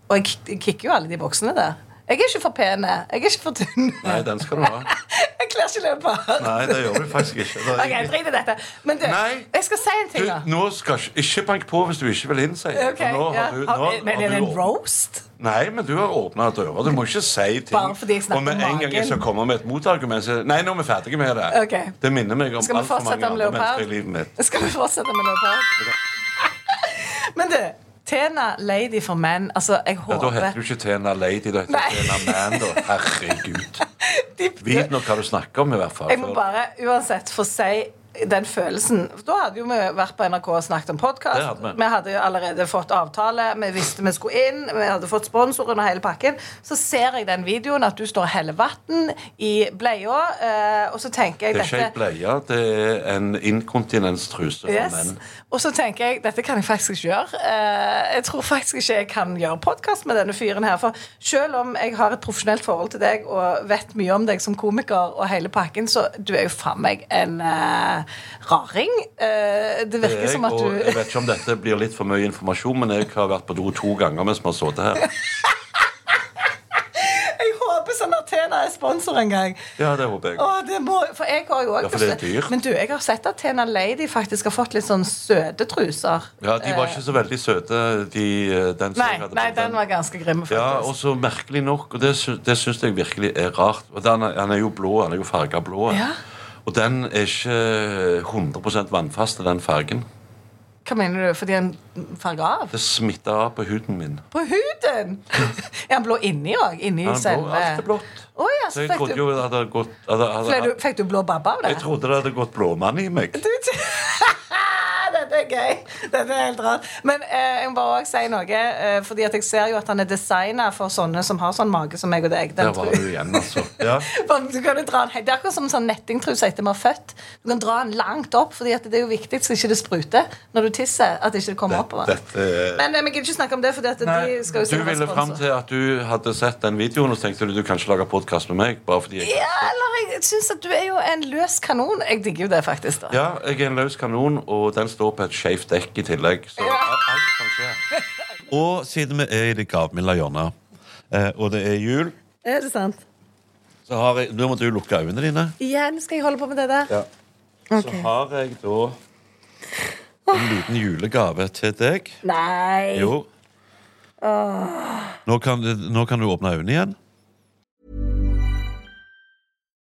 Speaker 3: Og jeg k- jeg kicker jo alle de boksene der. Jeg er ikke for pene. Jeg er ikke for tynn.
Speaker 2: Nei, den skal du ha.
Speaker 3: Jeg kler ikke leopard.
Speaker 2: Nei, det gjør du faktisk ikke. Det er
Speaker 3: Ok, drit i dette. Men du,
Speaker 2: Nei.
Speaker 3: jeg skal si en ting, da.
Speaker 2: Du, nå skal ikke, ikke bank på hvis du ikke vil innse det.
Speaker 3: Ok,
Speaker 2: nå
Speaker 3: ja.
Speaker 2: har du, nå,
Speaker 3: Har- men
Speaker 2: har
Speaker 3: er det
Speaker 2: du
Speaker 3: en
Speaker 2: åpnet-
Speaker 3: roast?
Speaker 2: Nei, men du har åpna døra. Du må ikke si ting.
Speaker 3: Bare fordi jeg snakker
Speaker 2: og med en
Speaker 3: om
Speaker 2: gang
Speaker 3: magen.
Speaker 2: jeg skal komme med et motargument, så Nei, nå er vi ferdige med det.
Speaker 3: Ok.
Speaker 2: Det minner meg om
Speaker 3: Skal vi
Speaker 2: altfor mange
Speaker 3: fortsette med
Speaker 2: andre
Speaker 3: leopard?
Speaker 2: mennesker i livet mitt.
Speaker 3: Skal vi fortsette med leopard? Men du, Tena Lady for menn Altså, jeg
Speaker 2: Ja, da
Speaker 3: håper
Speaker 2: heter du ikke Tena Lady, da heter
Speaker 3: Nei.
Speaker 2: du Tena Man. Da. Herregud.
Speaker 3: De-
Speaker 2: Vit nå hva du snakker om, i hvert fall.
Speaker 3: Jeg må bare uansett få si den følelsen. Da hadde jo vi vært på NRK og snakket om
Speaker 2: Det
Speaker 3: podkast.
Speaker 2: hadde vi.
Speaker 3: Vi hadde jo allerede fått avtale, vi visste vi skulle inn, vi hadde fått sponsoren og hele pakken. Så ser jeg den videoen at du står og heller vann i bleia, eh, og så tenker
Speaker 2: det
Speaker 3: jeg
Speaker 2: er ikke ei
Speaker 3: dette
Speaker 2: bleie, det er en inkontinenstruse for
Speaker 3: Yes.
Speaker 2: menn.
Speaker 3: Og så tenker jeg dette kan jeg faktisk ikke gjøre. Eh, jeg tror faktisk ikke jeg kan gjøre podkast med denne fyren her. For selv om jeg har et profesjonelt forhold til deg og vet mye om deg som komiker, og hele pakken, så du er jo faen meg en eh, raring. Eh, det
Speaker 2: Det er
Speaker 3: virker
Speaker 2: jeg,
Speaker 3: som at
Speaker 2: og jeg
Speaker 3: du
Speaker 2: vet ikke om dette blir litt for mye informasjon, men jeg har vært på do to ganger mens vi har sittet her.
Speaker 3: Jeg håper sånn at Tena er sponsor en gang.
Speaker 2: Ja, det håper jeg.
Speaker 3: Å, det må, for jeg har jo
Speaker 2: Ja,
Speaker 3: også
Speaker 2: for det er dyrt.
Speaker 3: Men du, jeg har sett at Tena Lady faktisk har fått litt sånn søte truser.
Speaker 2: Ja, De var ikke så veldig søte, de, eh, den som
Speaker 3: Nei,
Speaker 2: jeg hadde
Speaker 3: nei,
Speaker 2: på
Speaker 3: den var ganske altså. grim. faktisk.
Speaker 2: Ja, og så merkelig nok, og det, sy det syns jeg virkelig er rart og den er, Han er jo blå, han er jo farga blå.
Speaker 3: Ja.
Speaker 2: Og den er ikke 100 vannfast, den fargen.
Speaker 3: Hva mener du? Fordi han farger av?
Speaker 2: Det smitter av på huden min.
Speaker 3: På huden! er han blå inni òg? Inni
Speaker 2: Ja, blå,
Speaker 3: selve
Speaker 2: alt er blått.
Speaker 3: Å ja,
Speaker 2: Så
Speaker 3: så
Speaker 2: jeg
Speaker 3: fikk
Speaker 2: trodde
Speaker 3: du,
Speaker 2: jo det hadde gått hadde, hadde,
Speaker 3: fikk du, fikk du blå babba av det?
Speaker 2: Jeg trodde det hadde gått blåmann i meg.
Speaker 3: Du t- Ah, Dette er gøy. Dette er helt rart. Men eh, jeg må bare også si noe, eh, fordi at jeg ser jo at han er designa for sånne som har sånn mage som meg og deg. Den
Speaker 2: Der var
Speaker 3: tru-
Speaker 2: du igjen, altså. Ja.
Speaker 3: Bare- Du kan jo dra den, he- det er akkurat som en sånn nettingtruse etter man er født. Du kan dra den langt opp, Fordi at det er jo viktig så ikke det spruter når du tisser. At det ikke kommer oppover.
Speaker 2: Dette
Speaker 3: Men eh, vi gidder ikke snakke om det, Fordi at de skal jo
Speaker 2: Du
Speaker 3: sikkert ha
Speaker 2: ville fram
Speaker 3: sponsor.
Speaker 2: til at du hadde sett den videoen, og så tenkte du du kan ikke lage podkast med meg. bare fordi jeg...
Speaker 3: Ja, eller jeg syns at du er jo en løs kanon. Jeg digger jo det, faktisk. da
Speaker 2: Ja, jeg er en løs kanon, og den står på et skjevt dekk i tillegg. Så alt alt kan skje. Og siden vi er i det gavmilde hjørnet, eh, og det er jul,
Speaker 3: Er det sant?
Speaker 2: så har jeg Nå må du lukke øynene dine.
Speaker 3: Igjen skal jeg holde på med det der.
Speaker 2: Så har jeg da en liten julegave til deg.
Speaker 3: Nei!
Speaker 2: Jo. Nå kan, du- nå kan du åpne øynene igjen.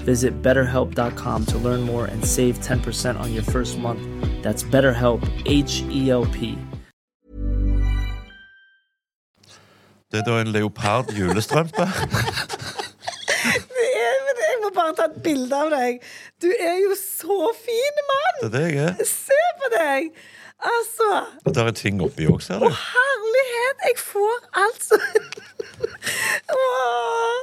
Speaker 7: Visit betterhelp.com to learn more and save 10% on your first month. That's BetterHelp, H E L P.
Speaker 2: Det er da en leopard julestrømpe.
Speaker 6: Det er, men jeg må bare ta et bilde av deg. Du er jo så fin, mann!
Speaker 2: Det er det jeg er.
Speaker 6: Se på deg! Altså
Speaker 2: Og der er ting oppi òg, ser du.
Speaker 6: Herlighet! Jeg får altså Åh,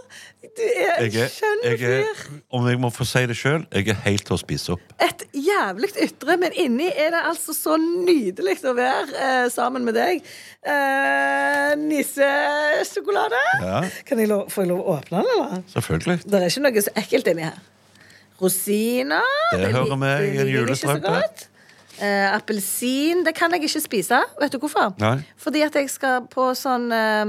Speaker 6: Du er en
Speaker 2: Jeg er,
Speaker 6: skjønn
Speaker 2: jeg er,
Speaker 6: fyr.
Speaker 2: om jeg må få si det sjøl, jeg er helt til å spise opp.
Speaker 6: Et jævlig ytre, men inni er det altså så nydelig å være eh, sammen med deg. Eh, Nissesjokolade.
Speaker 2: Ja.
Speaker 6: Kan jeg lov, får jeg lov å åpne den, eller?
Speaker 2: Selvfølgelig.
Speaker 6: Det er ikke noe så ekkelt inni her. Rosiner.
Speaker 2: Det hører
Speaker 6: lik-
Speaker 2: med i
Speaker 6: liker
Speaker 2: en
Speaker 6: jeg ikke så
Speaker 2: julestrømpe.
Speaker 6: godt. Eh, Appelsin. Det kan jeg ikke spise. Vet du hvorfor?
Speaker 2: Nei.
Speaker 6: Fordi at jeg skal på sånn eh,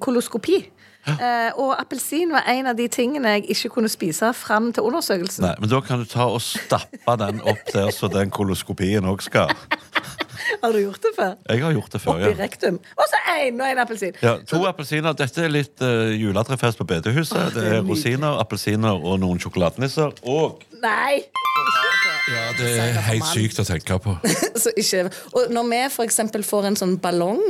Speaker 6: koloskopi. Eh, og appelsin var en av de tingene jeg ikke kunne spise fram til undersøkelsen.
Speaker 2: Nei, men da kan du ta og stappe den opp der så den koloskopien òg skal.
Speaker 6: Har du gjort det før?
Speaker 2: Jeg har gjort det før,
Speaker 6: Oppi
Speaker 2: ja.
Speaker 6: rektum. Og så én og én appelsin.
Speaker 2: ja to appelsiner. Dette er litt uh, juletrefest på bedehuset. Det er rosiner, appelsiner og noen sjokoladenisser. Og
Speaker 6: Nei!
Speaker 2: Ja, det er helt sykt å tenke på.
Speaker 6: så ikke Og når vi for eksempel får en sånn ballong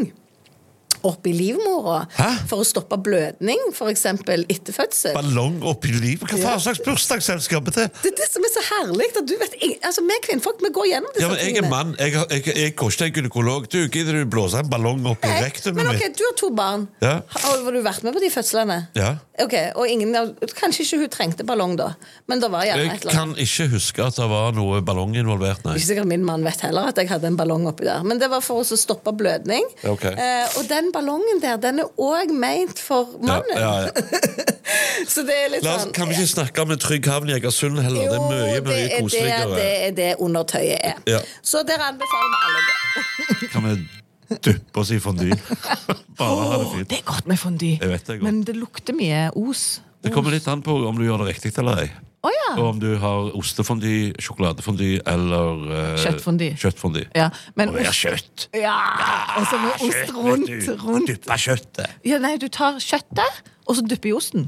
Speaker 6: oppi livmora for å stoppe blødning, for eksempel etter fødsel
Speaker 2: Ballong oppi livet? Hva faen slags bursdagsselskap er det?
Speaker 6: Det er det som er så herlig. At du vet, ing- altså, vi kvinnfolk vi går gjennom disse
Speaker 2: Ja, men Jeg er mann. Jeg, har- jeg, jeg går ikke til en gynekolog. Du, Gidder du blåse en ballong opp i
Speaker 6: Nei,
Speaker 2: rektumet
Speaker 6: Men ok,
Speaker 2: mitt?
Speaker 6: Du har to barn.
Speaker 2: Ja.
Speaker 6: Har har du vært med på de fødslene?
Speaker 2: Ja.
Speaker 6: Ok, og ingen, av- Kanskje ikke hun trengte ballong, da. Men det var gjerne
Speaker 2: Jeg
Speaker 6: et eller annet.
Speaker 2: kan ikke huske at det var noe ballong involvert, nei.
Speaker 6: Ikke sikkert min mann vet heller at jeg hadde en ballong oppi der. Men det var for å stoppe blødning.
Speaker 2: Ok.
Speaker 6: Eh, og den ballongen der, den er òg meint for
Speaker 2: Ja,
Speaker 6: mannen.
Speaker 2: ja, ja.
Speaker 6: Så det er litt
Speaker 2: La oss,
Speaker 6: sånn
Speaker 2: kan vi ikke snakke om en trygg havn i Egersund heller? Det er mye,
Speaker 6: Jo, det
Speaker 2: mye
Speaker 6: er det, det
Speaker 2: koseligere.
Speaker 6: er det undertøyet er.
Speaker 2: Ja.
Speaker 6: Så der anbefaler vi alle det.
Speaker 2: Kan vi duppe oss i fondy? Bare ha det fint.
Speaker 3: Det er godt med fondy,
Speaker 2: Jeg vet det er godt.
Speaker 3: men det lukter mye os.
Speaker 2: Det kommer litt an på om du gjør det riktig eller ei.
Speaker 3: Å ja.
Speaker 2: Og om du har ostefondy, sjokoladefondy eller eh,
Speaker 3: Kjøttfondy.
Speaker 2: kjøttfondy.
Speaker 3: Ja, men
Speaker 2: Og det er
Speaker 3: ost-
Speaker 2: kjøtt. Ah,
Speaker 3: Ja! Og så med ost
Speaker 2: Kjøtt,
Speaker 3: rundt.
Speaker 2: vet du.
Speaker 3: rundt.
Speaker 2: Dyppe kjøttet.
Speaker 3: Ja, nei, du tar kjøttet, og så dypper i osten.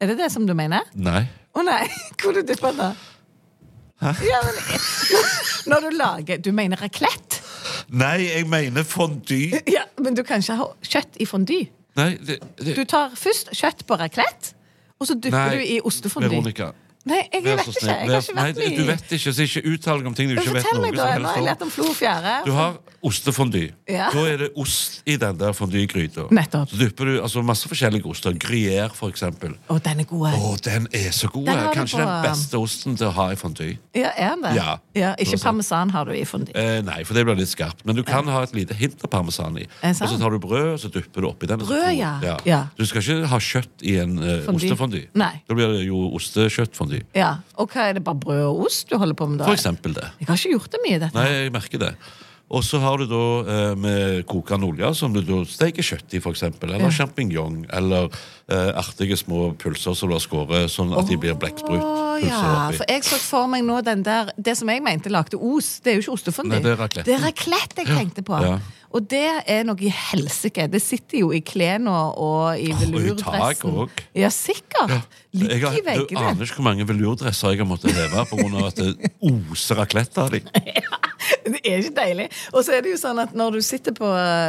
Speaker 3: Er det det som du mener?
Speaker 2: Nei.
Speaker 3: Å nei, hvor du dypper den da? Ja, men, når du lager Du mener raclette?
Speaker 2: Nei, jeg mener fondy.
Speaker 3: Ja, men du kan ikke ha kjøtt i fondy.
Speaker 2: Nei, det, det,
Speaker 3: Du tar først kjøtt på raclette, og så dypper
Speaker 2: Nei,
Speaker 3: du i ostefondy.
Speaker 2: Veronica,
Speaker 3: Nei, jeg
Speaker 2: vær
Speaker 3: vet
Speaker 2: så
Speaker 3: ikke.
Speaker 2: snill.
Speaker 3: Jeg har ikke
Speaker 2: Vær-
Speaker 3: vært
Speaker 2: Nei,
Speaker 3: i
Speaker 2: du vet ikke, så ikke uttalg om ting du ikke vet
Speaker 3: Fortell
Speaker 2: noe
Speaker 3: meg,
Speaker 2: som
Speaker 3: da. Nå har
Speaker 2: helst
Speaker 3: jeg
Speaker 2: om.
Speaker 3: lært om flo og fjære.
Speaker 2: Du har ostefondy.
Speaker 3: Altså- Ja.
Speaker 2: Da er det ost i den der fondygryta.
Speaker 3: Nettopp.
Speaker 2: Så dypper du altså, masse forskjellige oster. Gruyère, for eksempel.
Speaker 3: Å, den er god.
Speaker 2: Å, den er så god!
Speaker 3: Den har du
Speaker 2: Kanskje
Speaker 3: på-
Speaker 2: den beste osten til å ha i fondy.
Speaker 3: Ja, er den det?
Speaker 2: Ja.
Speaker 3: ikke parmesan har du i fondy.
Speaker 2: Eh, nei, for det blir litt skarpt. Men du kan ha et lite hint av parmesan i.
Speaker 3: Er det
Speaker 2: Og
Speaker 3: sant?
Speaker 2: så tar du brød, og så dypper du oppi den. og så
Speaker 3: Brød,
Speaker 2: koker.
Speaker 3: ja. Ja.
Speaker 2: Du skal ikke ha kjøtt i en eh,
Speaker 3: Fondy.
Speaker 2: ostefondy.
Speaker 3: Nei.
Speaker 2: Da blir det jo ostekjøttfondy.
Speaker 3: Ja, Og hva er det, bare brød og ost du holder på med da?
Speaker 2: For eksempel det.
Speaker 3: Jeg har ikke gjort det mye i dette.
Speaker 2: Nei, jeg merker det. Og så har du da eh, med kokende olje, som du da steker kjøtt i, for eksempel. Eller champignon. Eller eh, artige små pølser som du har skåret, sånn at de blir blekksprut.
Speaker 3: Å
Speaker 2: pølser
Speaker 3: ja,
Speaker 2: oppi.
Speaker 3: for jeg så for meg nå den der Det som jeg mente lagde os, det er jo ikke ostefondy.
Speaker 2: Nei, det er raclette.
Speaker 3: Det er raclette jeg tenkte på.
Speaker 2: Ja.
Speaker 3: Og det er noe i helsike. Det sitter jo i klærne og i
Speaker 2: tak
Speaker 3: velurdressen.
Speaker 2: også.
Speaker 3: ja, sikkert.
Speaker 2: Jeg
Speaker 3: Ligger
Speaker 2: har,
Speaker 3: i
Speaker 2: du aner
Speaker 3: veggene.
Speaker 2: ikke hvor mange velurdresser jeg har måttet heve pga. at det oser raclette av dem.
Speaker 3: Det er ikke deilig. Og så er det jo sånn at når du sitter på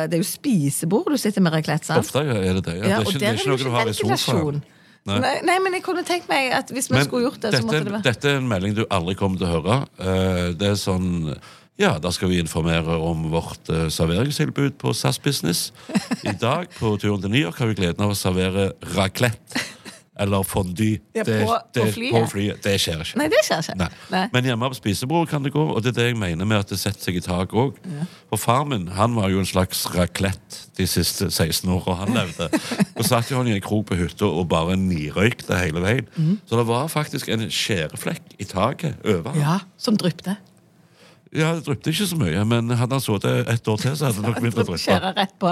Speaker 3: Det er jo spisebord du sitter med raclette, sant?
Speaker 2: Ofte er det det. Ja. det
Speaker 3: Ja,
Speaker 2: er
Speaker 3: og
Speaker 2: ikke,
Speaker 3: der
Speaker 2: det er
Speaker 3: er
Speaker 2: ikke noe
Speaker 3: det
Speaker 2: du
Speaker 3: jo
Speaker 2: har i
Speaker 3: ikke
Speaker 2: sofaen.
Speaker 3: ventilasjon. Nei. Nei, men jeg kunne tenkt meg at hvis vi skulle gjort det,
Speaker 2: dette,
Speaker 3: så måtte det være
Speaker 2: dette er en melding du aldri kommer til å høre. Eh, det er sånn Ja, da skal vi informere om vårt eh, serveringstilbud på SAS Business. I dag på turen til New York har vi gleden av å servere raclette. eller fondue
Speaker 3: Ja,
Speaker 2: det,
Speaker 3: på-
Speaker 2: det,
Speaker 3: på flyet.
Speaker 2: på flyet. Det skjer ikke.
Speaker 3: Nei, det skjer ikke.
Speaker 2: Nei.
Speaker 3: Nei.
Speaker 2: Men hjemme på spisebordet kan det gå, og det er det jeg mener med at det setter seg i tak òg. For far min han var jo en slags raclette de siste 16 åra han levde. og satt jo han i en krok på hytta og bare nirøykte hele veien.
Speaker 3: Mhm.
Speaker 2: Så det var faktisk en skjæreflekk i taket over han.
Speaker 8: Ja, som dryppte.
Speaker 2: Ja, det dryppet ikke så mye, men hadde han sittet et år til, så hadde det nok begynt å dryppe.
Speaker 3: Kjøre rett på.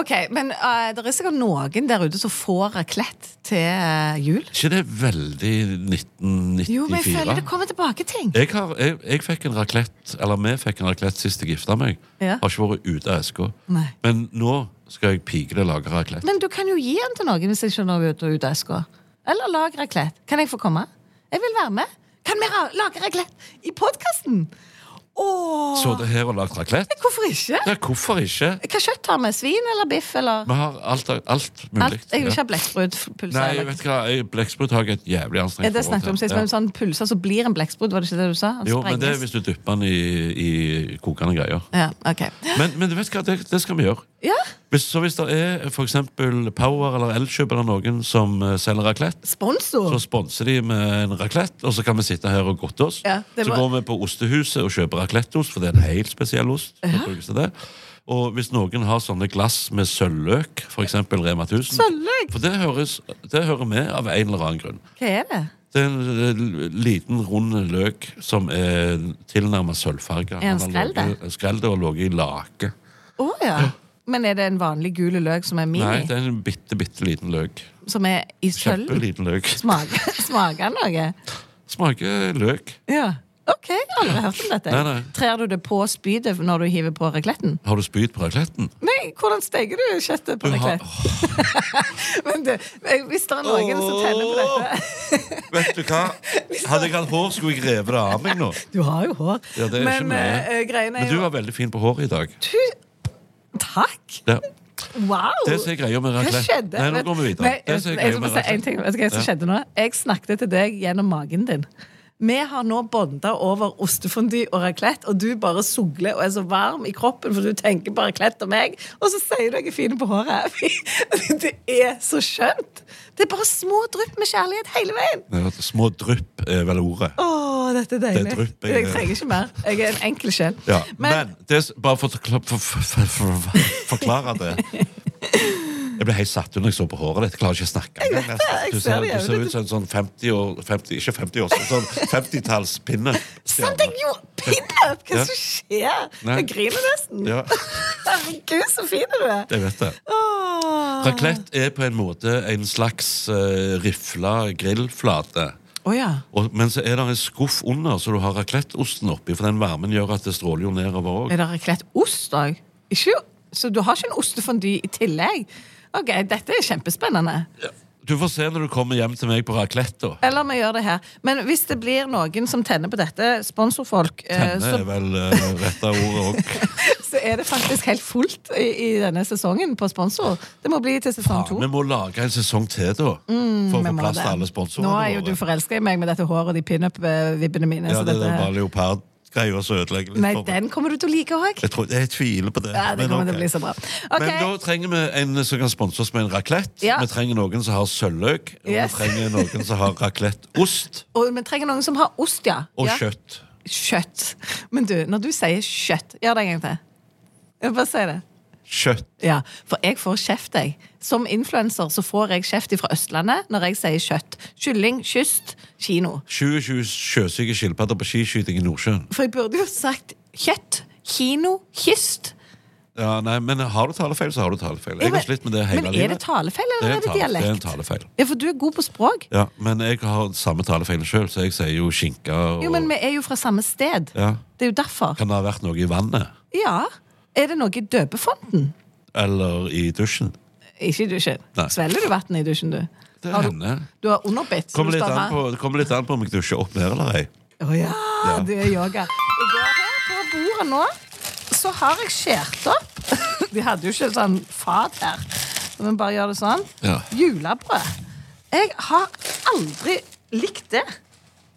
Speaker 3: Ok, Men eh, det er sikkert noen der ute som får raclette til eh, jul.
Speaker 2: ikke det veldig 1994?
Speaker 3: Jo, men jeg føler det kommer tilbake ting.
Speaker 2: Jeg, har, jeg, jeg fikk en raclette, eller vi fikk en raclette sist jeg gifta meg.
Speaker 3: Ja.
Speaker 2: Har ikke vært ute av eska.
Speaker 3: Nei.
Speaker 2: Men nå skal jeg pikene lage raclette.
Speaker 3: Men du kan jo gi den til noen hvis jeg skjønner ut ut av eska. Eller lag raclette. Kan jeg få komme? Jeg vil være med. Kan vi ra- lage raclette i podkasten? Åh,
Speaker 2: Så det her og lagd raclette?
Speaker 3: hvorfor ikke?
Speaker 2: Ja, hvorfor ikke?
Speaker 3: Hva kjøtt har vi? Svin eller biff eller
Speaker 2: Vi har alt, alt mulig.
Speaker 3: alt? Jeg vil ikke
Speaker 2: Ja.
Speaker 3: ha blekksprut. pølse
Speaker 2: Nei,
Speaker 3: eller-
Speaker 2: vet du hva? Jeg- Blekksprut har jeg et jævlig
Speaker 3: Ja,
Speaker 2: anstrengt
Speaker 3: det snakket vi om sist, men
Speaker 2: Ja.
Speaker 3: sånn pølse som blir en blekksprut, var det ikke det du sa? Han
Speaker 2: Jo, men det er
Speaker 3: sprenges.
Speaker 2: hvis du dypper den i, i kokende greier.
Speaker 3: Ja, ok.
Speaker 2: Men, men du vet hva, det, det skal vi gjøre.
Speaker 3: Ja,
Speaker 2: Hvis, så hvis det er for eksempel Power eller Elkjøp eller noen som eh, selger raclette,
Speaker 3: sponsor!
Speaker 2: så sponser de med en raclette, og så kan vi sitte her og godte oss.
Speaker 3: Ja, det
Speaker 2: så
Speaker 3: må-
Speaker 2: går vi på Ostehuset og kjøper racletteost, for det er en helt spesiell ost. som
Speaker 3: Ja.
Speaker 2: brukes til det. Og hvis noen har sånne glass med sølvløk, f.eks. Rema 1000
Speaker 3: Sølvløk?
Speaker 2: For det, høres, det hører med av en eller annen grunn.
Speaker 3: Hva er det?
Speaker 2: Det er en eh, liten, rund løk som er tilnærmet sølvfarga.
Speaker 3: Er den
Speaker 2: Skrell det og ligget i lake.
Speaker 3: Å ja. Men er det en vanlig gul løk som er mini?
Speaker 2: Nei, det er en bitte, bitte liten løk.
Speaker 3: Som er i sølv?
Speaker 2: Kjempeliten løk.
Speaker 3: Smaker smaker den noe?
Speaker 2: Smaker løk.
Speaker 3: Ja. OK, jeg har aldri hørt om dette.
Speaker 2: Nei, nei.
Speaker 3: Trer du det på spydet når du hiver på racletten?
Speaker 2: Har du spyd på racletten?
Speaker 3: Nei, hvordan steker du kjøttet på
Speaker 2: Du har-
Speaker 3: raclette? Men du, hvis det er noen som tenner på dette
Speaker 2: Vet du hva? Hadde jeg hatt hår, skulle jeg revet det av meg nå.
Speaker 3: Du har jo hår.
Speaker 2: Ja, det er
Speaker 3: Men
Speaker 2: ikke mye.
Speaker 3: eh, greien er
Speaker 2: Men du
Speaker 3: jo
Speaker 2: var veldig fin på håret i dag.
Speaker 3: Takk!
Speaker 2: Ja.
Speaker 3: Wow!
Speaker 2: Det som er greia med
Speaker 3: Hva
Speaker 2: raclette-
Speaker 3: skjedde?
Speaker 2: Nei, nå går vi videre.
Speaker 3: Nei,
Speaker 2: Det
Speaker 3: jeg,
Speaker 2: som er
Speaker 3: jeg,
Speaker 2: greia
Speaker 3: skal
Speaker 2: med
Speaker 3: bare si en
Speaker 2: raclette-
Speaker 3: ting. Vet du hva som
Speaker 2: Ja.
Speaker 3: skjedde nå? Jeg snakket til deg gjennom magen din. Vi har nå bonda over ostefondy og raclette, og du bare sugler og er så varm i kroppen, for du tenker på raclette og meg, og så sier du jeg er fin på håret. Det er så skjønt! Det er bare små drypp med kjærlighet hele veien.
Speaker 2: Ja, Små drypp er vel ordet.
Speaker 3: Å, dette er
Speaker 2: Det
Speaker 3: deilig.
Speaker 2: er drypp, jeg-
Speaker 3: Jeg trenger ikke mer. Jeg er en enkel sjel.
Speaker 2: Ja. Men,
Speaker 3: Men-
Speaker 2: det, s- bare for å forkla- for, for, for, for, forklare det Jeg ble helt satt ut når jeg så på håret ditt. Jeg Klarer ikke å snakke. engang,
Speaker 3: vet det,
Speaker 2: nesten.
Speaker 3: jeg
Speaker 2: Du
Speaker 3: ser
Speaker 2: ser,
Speaker 3: det,
Speaker 2: du ser
Speaker 3: men
Speaker 2: ut som en sånn 50 år 50, Ikke 50 år, sånn 50-tallspinne.
Speaker 3: Som jeg gjorde pinup! Hva
Speaker 2: Ja.
Speaker 3: som skjer?
Speaker 2: Nei.
Speaker 3: Jeg griner nesten.
Speaker 2: Ja.
Speaker 3: Herregud, så fin du er!
Speaker 2: Jeg vet det.
Speaker 3: Åh.
Speaker 2: Raclette er på en måte en slags uh, rifla grillflate.
Speaker 3: Å ja.
Speaker 2: Og, men så er det en skuff under, så du har racletteosten oppi. For den varmen gjør at det stråler jo nedover òg.
Speaker 3: Er det raclette ost òg? Så du har ikke en ostefondy i tillegg? Ok, Dette er kjempespennende.
Speaker 2: Du får se når du kommer hjem til meg på raclette. da.
Speaker 3: Eller vi gjør det her. Men hvis det blir noen som tenner på dette, sponsorfolk, eh,
Speaker 2: Tenne er
Speaker 3: så,
Speaker 2: vel uh, rette ordet òg.
Speaker 3: så er det faktisk helt fullt i, i denne sesongen på sponsor. Det må bli til sesong to.
Speaker 2: Vi må lage en sesong til, da. for å
Speaker 3: Mm, Vi
Speaker 2: få
Speaker 3: må
Speaker 2: plass til
Speaker 3: det.
Speaker 2: alle sponsorene.
Speaker 3: Nå er jo du
Speaker 2: våre.
Speaker 3: forelska i meg med dette håret og de pinup-vibbene mine.
Speaker 2: Ja,
Speaker 3: så
Speaker 2: det er
Speaker 3: dette...
Speaker 2: bare leopardgreia som ødelegger litt
Speaker 3: Nei,
Speaker 2: for meg.
Speaker 3: den kommer du til å like òg.
Speaker 2: Jeg, tror, jeg tviler på det.
Speaker 3: Ja, det
Speaker 2: men
Speaker 3: kommer til
Speaker 2: ok.
Speaker 3: å bli så bra.
Speaker 2: Men da
Speaker 3: Ok,
Speaker 2: trenger vi en som kan sponse oss med en raclette.
Speaker 3: Ja.
Speaker 2: Vi trenger noen som har sølvløk. Og
Speaker 3: Yes.
Speaker 2: vi trenger noen som har racletteost
Speaker 3: og Vi trenger noen som har ost, ja.
Speaker 2: og
Speaker 3: ja.
Speaker 2: kjøtt.
Speaker 3: Kjøtt. Men du, når du sier kjøtt Gjør det en gang til. Jeg Bare si det.
Speaker 2: Kjøtt.
Speaker 3: Ja, For jeg får kjeft, jeg. Som influenser så får jeg kjeft fra Østlandet når jeg sier kjøtt. Kylling, kyst, kino.
Speaker 2: 20 sjøsyke skilpadder på skiskyting i Nordsjøen.
Speaker 3: For jeg burde jo sagt kjøtt, kino, kyst.
Speaker 2: Ja, nei, men har du talefeil, så har du talefeil. Jeg
Speaker 3: Ja, men-
Speaker 2: har slitt med det hele
Speaker 3: men
Speaker 2: livet.
Speaker 3: er det talefeil, eller er
Speaker 2: tale-
Speaker 3: det
Speaker 2: Det er en
Speaker 3: dialekt?
Speaker 2: talefeil.
Speaker 3: Ja, For du er god på språk.
Speaker 2: Ja, men jeg har samme talefeil sjøl, så jeg sier jo skinke og
Speaker 3: Jo, men vi er jo fra samme sted.
Speaker 2: ja.
Speaker 3: Det er jo derfor.
Speaker 2: Kan det ha vært noe i vannet?
Speaker 3: Ja. Er det noe i døpefonten?
Speaker 2: Eller i dusjen?
Speaker 3: Ikke i dusjen.
Speaker 2: Nei.
Speaker 3: Svelger du vann i dusjen, du?
Speaker 2: Det
Speaker 3: Har du-
Speaker 2: hender.
Speaker 3: Du har underbitt. så
Speaker 2: Kommer
Speaker 3: du
Speaker 2: litt,
Speaker 3: står
Speaker 2: an
Speaker 3: her.
Speaker 2: på, det kommer litt an på om jeg dusjer opp ned eller ei.
Speaker 3: Å ja, det er yoga. I går her på bordet nå, så har jeg skjært opp De hadde jo ikke sånn fat her. Men bare gjør det sånn.
Speaker 2: Ja.
Speaker 3: Julebrød. Jeg har aldri likt det.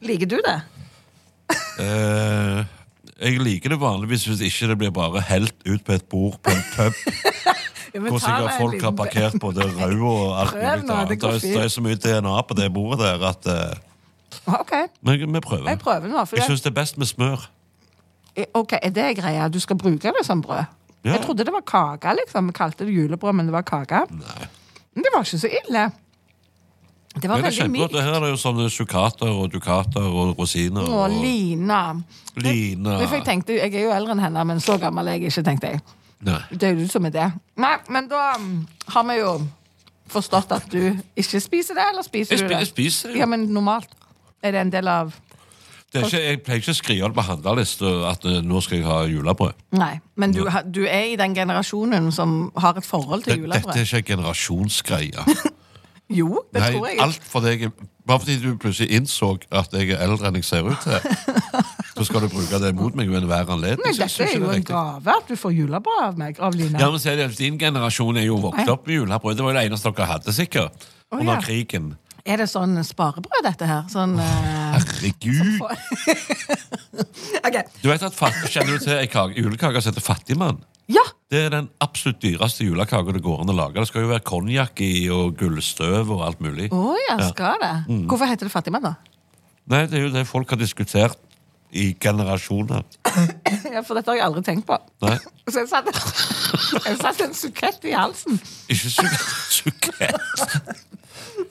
Speaker 3: Liker du det?
Speaker 2: Eh, jeg liker det vanligvis hvis ikke det blir bare helt ut på et bord på en pub.
Speaker 3: Ja, men
Speaker 2: Hvor
Speaker 3: ta
Speaker 2: sikkert
Speaker 3: deg en
Speaker 2: folk har
Speaker 3: liten
Speaker 2: parkert både rød og alt
Speaker 3: Prøv
Speaker 2: mulig
Speaker 3: nå, det
Speaker 2: annet.
Speaker 3: går
Speaker 2: Det er- Det er så mye DNA på det bordet der at eh,
Speaker 3: OK.
Speaker 2: Men vi prøver.
Speaker 3: Jeg prøver nå, for
Speaker 2: Jeg
Speaker 3: det-
Speaker 2: syns det er best med smør.
Speaker 3: Eh, Ok, Er det greia? Du skal bruke det som brød?
Speaker 2: Ja.
Speaker 3: Jeg trodde det var kake. liksom. Vi kalte det julebrød, men det var kake. Men det var ikke så ille. Det var
Speaker 2: Men det er
Speaker 3: veldig
Speaker 2: kjempegodt.
Speaker 3: mykt.
Speaker 2: Her er det jo sånne sukater og dukater og rosiner
Speaker 3: Å,
Speaker 2: og
Speaker 3: Lina.
Speaker 2: line.
Speaker 3: Det fikk Jeg tenkte, jeg er jo eldre enn henne, men så gammel er jeg ikke, tenkte jeg.
Speaker 2: Nei.
Speaker 3: Det er jo du som er det. Nei, men da mm, har vi jo forstått at du ikke spiser det, eller spiser
Speaker 2: Jeg
Speaker 3: du
Speaker 2: spi-
Speaker 3: det?
Speaker 2: jeg spiser det, jo.
Speaker 3: Ja, men normalt. Er det en del av
Speaker 2: Det er ikke, jeg pleier ikke å skrive det på handlelista at eh, nå skal jeg ha julebrød.
Speaker 3: Nei. Men du, ha- du er i den generasjonen som har et forhold
Speaker 2: Det,
Speaker 3: til
Speaker 2: dette er
Speaker 3: julebrød.
Speaker 2: ikke en generasjonsgreie.
Speaker 3: Jo, det
Speaker 2: Nei,
Speaker 3: tror jeg.
Speaker 2: alt for deg, bare fordi du plutselig innså at jeg er eldre enn jeg ser ut til, så skal du bruke det mot meg ved enhver anledning.
Speaker 3: Nei,
Speaker 2: Så jeg
Speaker 3: dette
Speaker 2: synes
Speaker 3: er
Speaker 2: ikke
Speaker 3: jo
Speaker 2: det
Speaker 3: en
Speaker 2: riktig.
Speaker 3: gave at du får julebrød av meg, av Lina.
Speaker 2: Ja, men se det, Din generasjon er jo vokst
Speaker 3: Ja.
Speaker 2: opp med julebrød. Det var jo det eneste dere hadde, sikkert.
Speaker 3: Å,
Speaker 2: Under
Speaker 3: ja.
Speaker 2: krigen.
Speaker 3: Er det sånn sparebrød, dette her? Sånn eh,
Speaker 2: Herregud!
Speaker 3: Ok.
Speaker 2: Du vet at fatt, Kjenner du til ei kake- julekake som heter Fattigmann?
Speaker 3: Ja!
Speaker 2: Det er den absolutt dyreste julekaka det går an å lage. Det skal jo være konjakk i og gullstøv og alt mulig.
Speaker 3: Å ja,
Speaker 2: Ja.
Speaker 3: skal det?
Speaker 2: Mm.
Speaker 3: Hvorfor heter det fattigmann, da?
Speaker 2: Nei, Det er jo det folk har diskutert i generasjoner.
Speaker 3: ja, for dette har jeg aldri tenkt på.
Speaker 2: Nei,
Speaker 3: Så jeg satte, jeg satte en sukett i halsen.
Speaker 2: ikke su sukett.